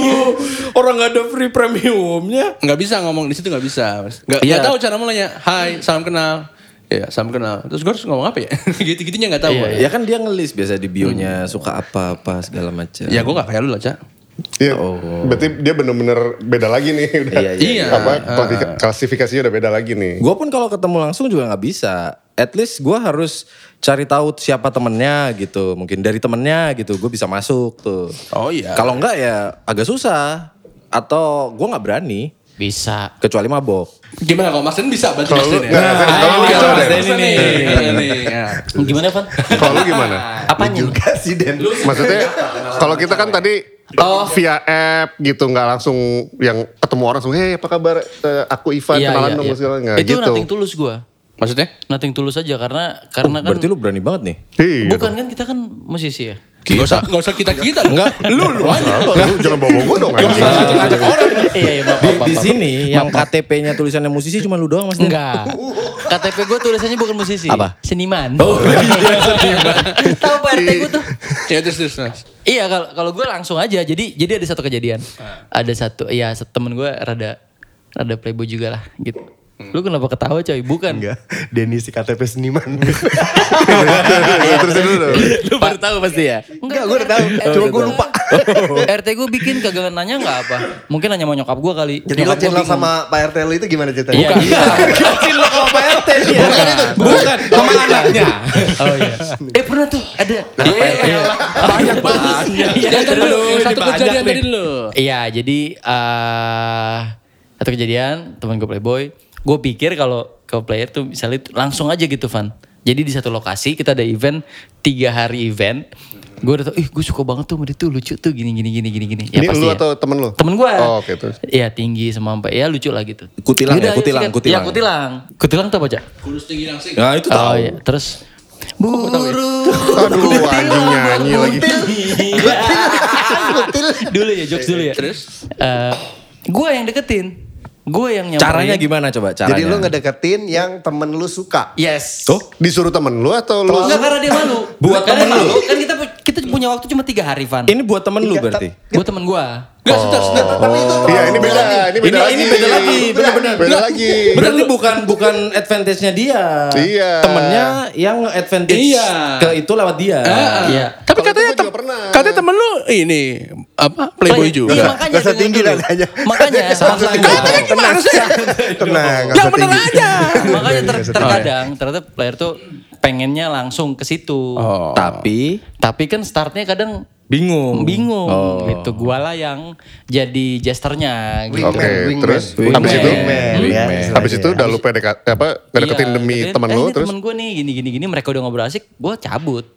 [SPEAKER 3] Orang nggak ada free premiumnya.
[SPEAKER 1] Nggak bisa ngomong di situ nggak bisa. Nggak
[SPEAKER 3] Iya.
[SPEAKER 1] nggak tahu cara mulainya. Hai, salam kenal. ya salam kenal terus gue harus ngomong apa ya gitu gitunya nggak tahu
[SPEAKER 5] Iya,
[SPEAKER 1] gua.
[SPEAKER 3] Ya kan dia ngelis biasa di bionya suka apa-apa segala macam.
[SPEAKER 1] Hmm. ya gue nggak kayak lu lah cak
[SPEAKER 6] Iya,
[SPEAKER 3] Oh.
[SPEAKER 6] berarti dia bener-bener beda lagi nih. Udah.
[SPEAKER 3] Iya,
[SPEAKER 1] iya.
[SPEAKER 6] Apa
[SPEAKER 5] Ah.
[SPEAKER 1] Iya,
[SPEAKER 6] klasifi- klasifikasinya udah beda lagi nih.
[SPEAKER 3] Gue pun kalau ketemu langsung juga nggak bisa. At least gue harus cari tahu siapa temennya gitu. Mungkin dari temennya gitu gue bisa masuk tuh.
[SPEAKER 1] Oh, iya.
[SPEAKER 3] Kalau nggak ya agak susah. Atau gue nggak berani.
[SPEAKER 5] Bisa.
[SPEAKER 3] Kecuali mabok.
[SPEAKER 1] gimana kalau mas Den bisa berarti
[SPEAKER 6] Kalau
[SPEAKER 1] mas
[SPEAKER 6] lu,
[SPEAKER 1] Den ya?
[SPEAKER 6] nah, Zen, kalau lu
[SPEAKER 1] Ayo,
[SPEAKER 6] gimana?
[SPEAKER 1] Mas
[SPEAKER 6] Den?
[SPEAKER 1] Den ini, ini, ini, ya.
[SPEAKER 5] Gimana, Van?
[SPEAKER 6] Kalau lu gimana?
[SPEAKER 5] Apanya? nih?
[SPEAKER 2] Juga sih Den.
[SPEAKER 6] Maksudnya, kalau kita kan tadi
[SPEAKER 5] gitu. Oh.
[SPEAKER 6] via app gitu, nggak langsung yang ketemu orang langsung, hey apa kabar? Eh, aku Ivan,
[SPEAKER 5] Iya,
[SPEAKER 6] kenalan
[SPEAKER 5] iya,
[SPEAKER 6] dong
[SPEAKER 5] iya.
[SPEAKER 6] segala nggak
[SPEAKER 5] Itu
[SPEAKER 6] gitu.
[SPEAKER 5] nating tulus gue.
[SPEAKER 1] maksudnya
[SPEAKER 5] Nating tulus aja karena karena kan
[SPEAKER 3] Oh, Uh, Berarti lu berani banget nih.
[SPEAKER 6] Iya.
[SPEAKER 5] bukan kan kita kan musisi ya.
[SPEAKER 1] Gak usah, gak usah kita kita
[SPEAKER 3] Enggak.
[SPEAKER 1] lu lu aja.
[SPEAKER 6] Lu jangan bawa gue dong. anjing.
[SPEAKER 5] Iya iya maaf,
[SPEAKER 3] Di,
[SPEAKER 5] maaf,
[SPEAKER 3] di
[SPEAKER 5] maaf.
[SPEAKER 3] sini yang KTP-nya tulisannya musisi cuma lu doang mas. Den.
[SPEAKER 5] Enggak. KTP gue tulisannya bukan musisi.
[SPEAKER 3] Apa?
[SPEAKER 5] Seniman. Oh,
[SPEAKER 1] iya.
[SPEAKER 5] Tahu Pak RT gue tuh.
[SPEAKER 1] Ya terus terus. terus.
[SPEAKER 5] Iya kalau kalau gue langsung aja. Jadi jadi ada satu kejadian. Ada satu ya se- temen gue rada rada playboy juga lah gitu. Lu kenapa ketawa coy? Bukan.
[SPEAKER 2] Enggak. Iya. Denny si KTP seniman. Iya,
[SPEAKER 6] Terusin dulu.
[SPEAKER 5] Lu baru tahu pasti ya? Enggak, gue udah tahu.
[SPEAKER 2] Cuma gue lupa.
[SPEAKER 5] RT gue bikin kagak nanya nggak apa. Mungkin nanya mau nyokap gue kali.
[SPEAKER 2] Jadi lo
[SPEAKER 5] Nyokap gua
[SPEAKER 2] cinta
[SPEAKER 5] bingung.
[SPEAKER 2] sama Pak RT lo itu gimana ceritanya?
[SPEAKER 5] Iya, iya.
[SPEAKER 3] Kasih lo sama Pak RT dia. Bukan itu. Bukan. Sama anaknya.
[SPEAKER 5] Oh iya. Eh pernah tuh ada. Iya.
[SPEAKER 1] Banyak banget.
[SPEAKER 5] Iya,
[SPEAKER 1] Jangan
[SPEAKER 5] terus
[SPEAKER 1] dulu, yang satu
[SPEAKER 3] dibajak
[SPEAKER 1] kejadian
[SPEAKER 3] deh.
[SPEAKER 1] tadi dulu.
[SPEAKER 5] Iya, jadi eh satu kejadian teman gue playboy, gue pikir kalau ke player tuh misalnya tuh langsung aja gitu Van. Jadi di satu lokasi kita ada event tiga hari event. Gue udah tau, ih gue suka banget tuh sama dia tuh lucu tuh gini gini gini gini gini.
[SPEAKER 6] Ini lu atau temen lu?
[SPEAKER 5] Ya, Temen gue.
[SPEAKER 6] Oh, oke, terus.
[SPEAKER 5] Iya tinggi sama sampai ya lucu lah gitu.
[SPEAKER 3] Kutilang ya,
[SPEAKER 5] Yaudah, ayo,
[SPEAKER 3] kutilang,
[SPEAKER 5] sikat.
[SPEAKER 3] kutilang.
[SPEAKER 5] Iya kutilang. Kutilang tuh apa cak?
[SPEAKER 1] Kurus tinggi langsing.
[SPEAKER 3] Nah itu
[SPEAKER 5] Oh
[SPEAKER 3] tahu.
[SPEAKER 5] iya. Terus buru
[SPEAKER 6] Aduh, Kan anjing nyanyi lagi.
[SPEAKER 5] dulu ya jokes dulu ya.
[SPEAKER 1] Terus
[SPEAKER 5] Eh, gue yang deketin, gue yang nyamperin.
[SPEAKER 3] Caranya gimana coba? Caranya.
[SPEAKER 2] Jadi lo ngedeketin yang temen lu suka.
[SPEAKER 5] Yes.
[SPEAKER 3] Oh,
[SPEAKER 6] Disuruh temen lu atau lu?
[SPEAKER 5] Enggak karena dia malu.
[SPEAKER 3] Buat
[SPEAKER 5] Karena
[SPEAKER 3] temen
[SPEAKER 5] dia
[SPEAKER 3] lu?
[SPEAKER 5] malu. Kan kita pu- kita punya waktu cuma tiga hari, Van.
[SPEAKER 3] ini buat temen lu berarti.
[SPEAKER 5] Gue temen gua.
[SPEAKER 1] Enggak, sebentar, sebentar.
[SPEAKER 6] Iya, ini beda, ini beda lagi.
[SPEAKER 3] Ini- ini beda lagi, benar-benar.
[SPEAKER 6] Beda lagi.
[SPEAKER 3] Berarti bukan bukan advantage-nya dia.
[SPEAKER 6] Iya.
[SPEAKER 3] Temennya yang advantage
[SPEAKER 1] Iya.
[SPEAKER 3] ke itu lewat dia.
[SPEAKER 5] Iya.
[SPEAKER 1] Tapi
[SPEAKER 6] Kalau
[SPEAKER 1] katanya
[SPEAKER 6] itu gua
[SPEAKER 1] tem-
[SPEAKER 6] juga pernah.
[SPEAKER 1] katanya temen lu ini apa
[SPEAKER 3] Eh,
[SPEAKER 1] playboy
[SPEAKER 5] Play- Iya,
[SPEAKER 1] juga.
[SPEAKER 5] makanya
[SPEAKER 2] Gak usah
[SPEAKER 5] dengar
[SPEAKER 2] tinggi
[SPEAKER 5] dulu.
[SPEAKER 2] lah nanya.
[SPEAKER 5] Makanya
[SPEAKER 1] Katanya gimana sih?
[SPEAKER 3] Iya.
[SPEAKER 2] Tenang. gak
[SPEAKER 1] Yang
[SPEAKER 2] usah
[SPEAKER 1] bener
[SPEAKER 2] tinggi.
[SPEAKER 1] aja.
[SPEAKER 5] makanya ter- terkadang ternyata player tuh pengennya langsung ke situ.
[SPEAKER 1] Oh.
[SPEAKER 3] Tapi
[SPEAKER 5] Tapi kan startnya kadang
[SPEAKER 3] bingung.
[SPEAKER 5] bingung
[SPEAKER 3] Oh.
[SPEAKER 5] gitu. Gua lah yang jadi gesternya gitu.
[SPEAKER 6] Oke,
[SPEAKER 2] Wingman, wingman.
[SPEAKER 6] terus
[SPEAKER 3] Wingman.
[SPEAKER 6] habis itu
[SPEAKER 2] Wingman, ya,
[SPEAKER 3] Wingman.
[SPEAKER 2] istilahnya.
[SPEAKER 6] habis itu udah lu PDK apa ngedeketin
[SPEAKER 5] Iya,
[SPEAKER 6] demi
[SPEAKER 5] deketin.
[SPEAKER 6] temen
[SPEAKER 5] Eh,
[SPEAKER 6] lu
[SPEAKER 5] ini
[SPEAKER 6] terus
[SPEAKER 5] temen gue nih gini gini gini mereka udah ngobrol asik, gua cabut.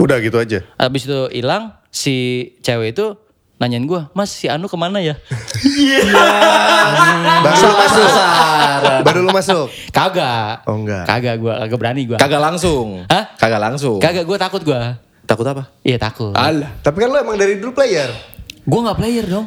[SPEAKER 6] udah gitu aja.
[SPEAKER 5] Habis itu hilang si cewek itu nanyain gue, Mas si Anu kemana ya?
[SPEAKER 2] Baru lu masuk. Baru lu masuk.
[SPEAKER 5] Kagak.
[SPEAKER 2] Oh, enggak.
[SPEAKER 5] Kagak gue, kagak berani gue.
[SPEAKER 3] Kagak langsung.
[SPEAKER 5] Hah?
[SPEAKER 3] Kagak langsung.
[SPEAKER 5] Kagak gue takut gue.
[SPEAKER 3] Takut apa?
[SPEAKER 5] Iya takut.
[SPEAKER 1] Alah.
[SPEAKER 2] Tapi kan lo emang dari dulu player.
[SPEAKER 5] Gue gak player dong.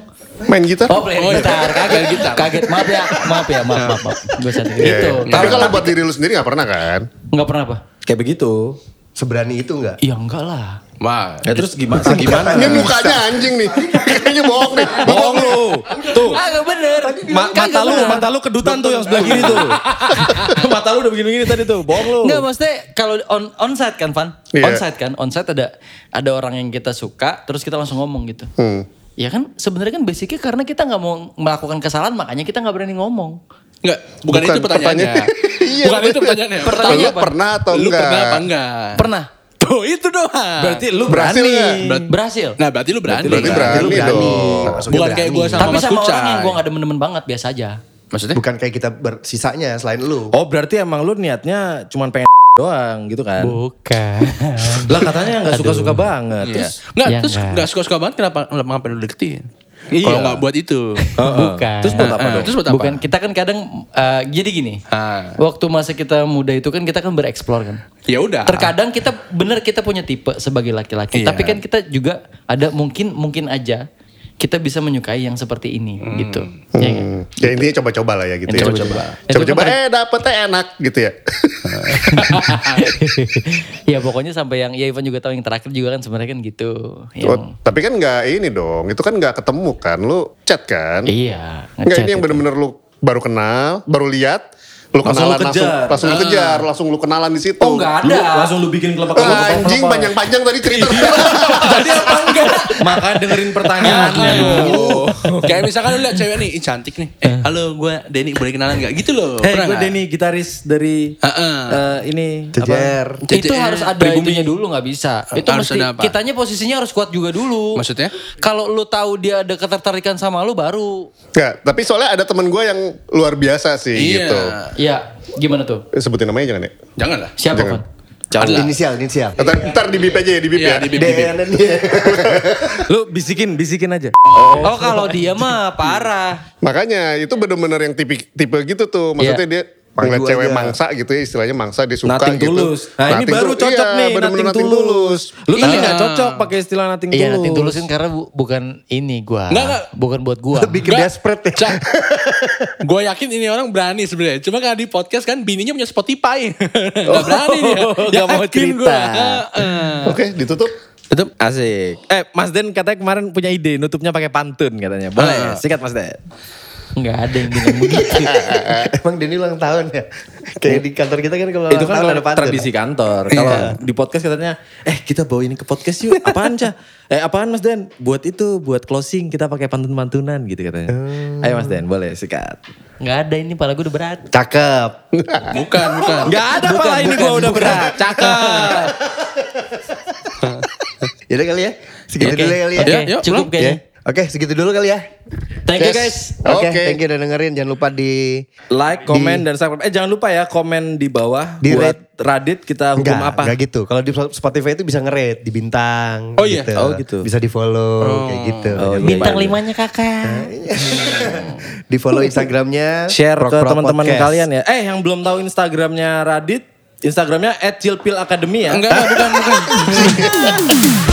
[SPEAKER 6] Main gitar?
[SPEAKER 5] Oh player gitar, kaget gitar. Kaget, maaf ya, maaf ya, maaf, maaf. maaf. Gue sadar
[SPEAKER 6] Iya,
[SPEAKER 5] gitu.
[SPEAKER 6] iya. Tapi kalau buat diri lu sendiri gak pernah kan?
[SPEAKER 5] Gak pernah apa?
[SPEAKER 3] Kayak begitu.
[SPEAKER 2] Seberani itu enggak?
[SPEAKER 5] Iya enggak lah.
[SPEAKER 1] Wah.
[SPEAKER 3] Ya terus gimana? Gimana?
[SPEAKER 6] Ini mukanya anjing nih. Kayaknya bohong nih.
[SPEAKER 3] Bohong lu. Tuh.
[SPEAKER 5] Kagak bener.
[SPEAKER 3] Ma- mata lu, mata lu kedutan tuh yang sebelah kiri tuh. mata lu udah begini-begini tadi tuh. Bohong lu.
[SPEAKER 5] Enggak maksudnya kalau on onside kan Van,
[SPEAKER 6] Iya.
[SPEAKER 5] onside kan, onside ada ada orang yang kita suka, terus kita langsung ngomong gitu.
[SPEAKER 6] Hmm.
[SPEAKER 5] Ya kan sebenarnya kan basicnya karena kita nggak mau melakukan kesalahan, makanya kita nggak berani ngomong.
[SPEAKER 1] Enggak, bukan,
[SPEAKER 6] Bukan
[SPEAKER 1] itu pertanyaannya.
[SPEAKER 6] pertanyaan. Iya,
[SPEAKER 1] bukan itu
[SPEAKER 6] bener.
[SPEAKER 1] pertanyaannya.
[SPEAKER 5] Pertanyaan
[SPEAKER 1] Pertanyaannya
[SPEAKER 6] Lu pernah atau
[SPEAKER 1] Lu pernah apa
[SPEAKER 6] enggak?
[SPEAKER 1] enggak?
[SPEAKER 5] Pernah
[SPEAKER 1] Tuh itu doang.
[SPEAKER 3] Berarti lu
[SPEAKER 6] Berhasil
[SPEAKER 3] berani.
[SPEAKER 6] nggak?
[SPEAKER 1] Berarti-
[SPEAKER 5] berhasil.
[SPEAKER 1] nah berarti lu berani.
[SPEAKER 6] Berarti
[SPEAKER 2] Lu
[SPEAKER 6] berani dong.
[SPEAKER 2] Nah, Maksudnya
[SPEAKER 1] Bukan kayak gue
[SPEAKER 2] berani.
[SPEAKER 1] sama
[SPEAKER 5] Tapi
[SPEAKER 1] Mas
[SPEAKER 5] sama orang
[SPEAKER 1] Kucai.
[SPEAKER 5] yang gue nggak demen-demen banget biasa aja.
[SPEAKER 1] Maksudnya?
[SPEAKER 2] Bukan kayak kita ber- sisanya selain lu.
[SPEAKER 3] Oh berarti emang lu niatnya cuman pengen doang gitu kan?
[SPEAKER 5] Bukan.
[SPEAKER 3] Lah katanya nggak suka-suka banget.
[SPEAKER 1] Iya.
[SPEAKER 3] Terus-
[SPEAKER 1] Nggak,
[SPEAKER 5] Ya
[SPEAKER 1] terus
[SPEAKER 5] nggak.
[SPEAKER 1] nggak suka-suka banget kenapa kenapa ngapain lu deketin?
[SPEAKER 3] Iya.
[SPEAKER 1] Kalau nggak buat itu.
[SPEAKER 3] Heeh.
[SPEAKER 5] Bukan.
[SPEAKER 3] Terus buat apa
[SPEAKER 1] Eh,
[SPEAKER 3] dong?
[SPEAKER 1] Terus buat apa?
[SPEAKER 5] Bukan kita kan kadang eh, jadi gini.
[SPEAKER 1] Ah.
[SPEAKER 5] Waktu masa kita muda itu kan kita kan bereksplor kan.
[SPEAKER 1] Ya udah.
[SPEAKER 5] Terkadang kita bener kita punya tipe sebagai laki-laki,
[SPEAKER 1] Iya.
[SPEAKER 5] tapi kan kita juga ada mungkin mungkin aja kita bisa menyukai yang seperti ini gitu. Ya kan?
[SPEAKER 6] Hmm. Ya intinya coba-coba lah ya gitu
[SPEAKER 5] Ya,
[SPEAKER 6] ya.
[SPEAKER 5] coba-coba.
[SPEAKER 6] Coba-coba
[SPEAKER 5] Itu kan-
[SPEAKER 6] eh dapetnya enak gitu ya.
[SPEAKER 5] ya pokoknya sampai yang ya Ivan juga tahu yang terakhir juga kan sebenarnya kan gitu.
[SPEAKER 6] Oh,
[SPEAKER 5] Yang,
[SPEAKER 6] tapi kan nggak ini dong. Itu kan nggak ketemu kan. Lu chat kan?
[SPEAKER 5] Iya.
[SPEAKER 6] Enggak ini
[SPEAKER 5] ngechat
[SPEAKER 6] yang
[SPEAKER 5] itu.
[SPEAKER 6] bener-bener lu baru kenal, baru lihat, Lu
[SPEAKER 1] Langsung lu
[SPEAKER 6] kenalan langsung,
[SPEAKER 1] kejar.
[SPEAKER 6] langsung lu kejar, langsung lu kenalan di situ.
[SPEAKER 3] Ah. Oh nggak ada. langsung lu bikin Iya. kelopak
[SPEAKER 6] Ah, anjing panjang-panjang tadi cerita.
[SPEAKER 3] Jadi apa enggak? Maka dengerin pertanyaannya lu.
[SPEAKER 1] Kayak misalkan lu liat cewek nih, ih cantik nih. Eh, halo gue Denny, boleh kenalan gak? Gitu loh.
[SPEAKER 5] Eh,
[SPEAKER 3] Hey,
[SPEAKER 1] pernah
[SPEAKER 3] gue
[SPEAKER 1] nggak?
[SPEAKER 3] Denny gitaris dari
[SPEAKER 1] Heeh.
[SPEAKER 3] eh, ini
[SPEAKER 2] Jejer.
[SPEAKER 5] itu
[SPEAKER 1] CCR,
[SPEAKER 5] harus ada
[SPEAKER 1] pribumi.
[SPEAKER 5] itunya dulu nggak bisa. Itu
[SPEAKER 1] Harus
[SPEAKER 5] mesti
[SPEAKER 1] ada apa?
[SPEAKER 5] kitanya posisinya harus kuat juga dulu.
[SPEAKER 1] Maksudnya?
[SPEAKER 5] Kalau lu tahu dia ada ketertarikan sama lu baru
[SPEAKER 6] Enggak, tapi soalnya ada teman gue yang luar biasa sih
[SPEAKER 1] Iya.
[SPEAKER 6] gitu.
[SPEAKER 5] ya gimana tuh?
[SPEAKER 6] Eh, Sebutin namanya jangan ya.
[SPEAKER 1] Jangan lah.
[SPEAKER 5] Siapa
[SPEAKER 6] Jangan.
[SPEAKER 5] kan?
[SPEAKER 1] Jangan lah.
[SPEAKER 2] Inisial, inisial.
[SPEAKER 6] Ntar,
[SPEAKER 3] Iya.
[SPEAKER 6] ntar di bip aja ya, di bip
[SPEAKER 1] Iya,
[SPEAKER 6] ya.
[SPEAKER 1] di bibir.
[SPEAKER 2] Dan
[SPEAKER 3] Lu bisikin, bisikin aja.
[SPEAKER 5] Oh, kalau dia mah parah.
[SPEAKER 6] Makanya itu bener-bener yang tipe, tipe
[SPEAKER 5] Iya.
[SPEAKER 6] gitu tuh. Maksudnya dia
[SPEAKER 2] Maju
[SPEAKER 6] ngeliat cewek
[SPEAKER 2] aja.
[SPEAKER 6] mangsa gitu ya istilahnya mangsa dia suka
[SPEAKER 3] Nating
[SPEAKER 6] gitu.
[SPEAKER 3] tulus. Nah ini
[SPEAKER 6] Nothing
[SPEAKER 3] baru
[SPEAKER 6] tulus.
[SPEAKER 3] cocok
[SPEAKER 6] Iya,
[SPEAKER 3] nih,
[SPEAKER 6] bener-bener
[SPEAKER 3] nating
[SPEAKER 6] nothing
[SPEAKER 3] tulus. Lu tadi
[SPEAKER 1] Iya.
[SPEAKER 3] nggak cocok pakai istilah nating tulus.
[SPEAKER 5] Iya nanti tulusin karena bu- bukan ini gua.
[SPEAKER 1] Nggak, nggak.
[SPEAKER 5] Bukan buat gua.
[SPEAKER 2] Bikin
[SPEAKER 1] Nggak.
[SPEAKER 2] desperate ya.
[SPEAKER 1] Cak, gue yakin ini orang berani sebenarnya. Cuma karena di podcast kan bininya punya Spotify. Gak berani dia.
[SPEAKER 3] nggak mau
[SPEAKER 1] Yakin
[SPEAKER 3] cerita.
[SPEAKER 1] gua. Heeh.
[SPEAKER 6] Oke, ditutup.
[SPEAKER 3] Tutup asik. Eh Mas Den katanya kemarin punya ide nutupnya pakai pantun katanya. Boleh, sikat Mas Den.
[SPEAKER 5] Nggak ada yang bilang begitu.
[SPEAKER 2] Emang Denny ulang tahun ya? Kayak di kantor kita kan kalau
[SPEAKER 3] itu
[SPEAKER 2] ulang
[SPEAKER 3] kan
[SPEAKER 2] tahun
[SPEAKER 3] kalau
[SPEAKER 2] ada pantun.
[SPEAKER 3] tradisi kantor. Kalau di podcast katanya, eh kita bawa ini ke podcast yuk. Apaan cah? Eh apaan Mas Den? Buat itu, buat closing kita pakai pantun-pantunan gitu katanya. Ayo Mas Den, boleh sikat.
[SPEAKER 5] Nggak ada ini pala gua udah berat.
[SPEAKER 2] Cakep.
[SPEAKER 1] Bukan, bukan.
[SPEAKER 3] Gak ada pala ini gua udah berat. Cakep.
[SPEAKER 2] Yaudah kali ya. Segitu
[SPEAKER 5] Oke,
[SPEAKER 2] dulu kali ya.
[SPEAKER 5] oke,
[SPEAKER 1] Yuk,
[SPEAKER 5] cukup
[SPEAKER 2] Ya.
[SPEAKER 5] kayaknya.
[SPEAKER 2] Oke, segitu dulu kali ya.
[SPEAKER 5] Thank you guys.
[SPEAKER 2] Oke,
[SPEAKER 6] Oke.
[SPEAKER 2] thank you udah dengerin. Jangan lupa di
[SPEAKER 3] Like, komen, dan subscribe. Eh jangan lupa ya komen di bawah
[SPEAKER 2] Di
[SPEAKER 3] buat Radit kita hukum
[SPEAKER 2] Enggak,
[SPEAKER 3] apa.
[SPEAKER 2] enggak gitu. Kalau di Spotify itu bisa ngerate di bintang.
[SPEAKER 1] Oh iya?
[SPEAKER 2] gitu.
[SPEAKER 3] Oh gitu.
[SPEAKER 2] Bisa di follow kayak gitu.
[SPEAKER 3] Oh,
[SPEAKER 2] Jangan
[SPEAKER 3] bintang
[SPEAKER 2] lupa.
[SPEAKER 5] limanya kakak.
[SPEAKER 2] Di follow Instagramnya.
[SPEAKER 3] iya. share
[SPEAKER 2] Rock
[SPEAKER 3] ke
[SPEAKER 2] Pro
[SPEAKER 3] teman-teman
[SPEAKER 2] Podcast.
[SPEAKER 3] kalian ya. Eh yang belum tahu Instagramnya Radit, Instagramnya @cilpilacademy ya.
[SPEAKER 1] Enggak, enggak, bukan, bukan.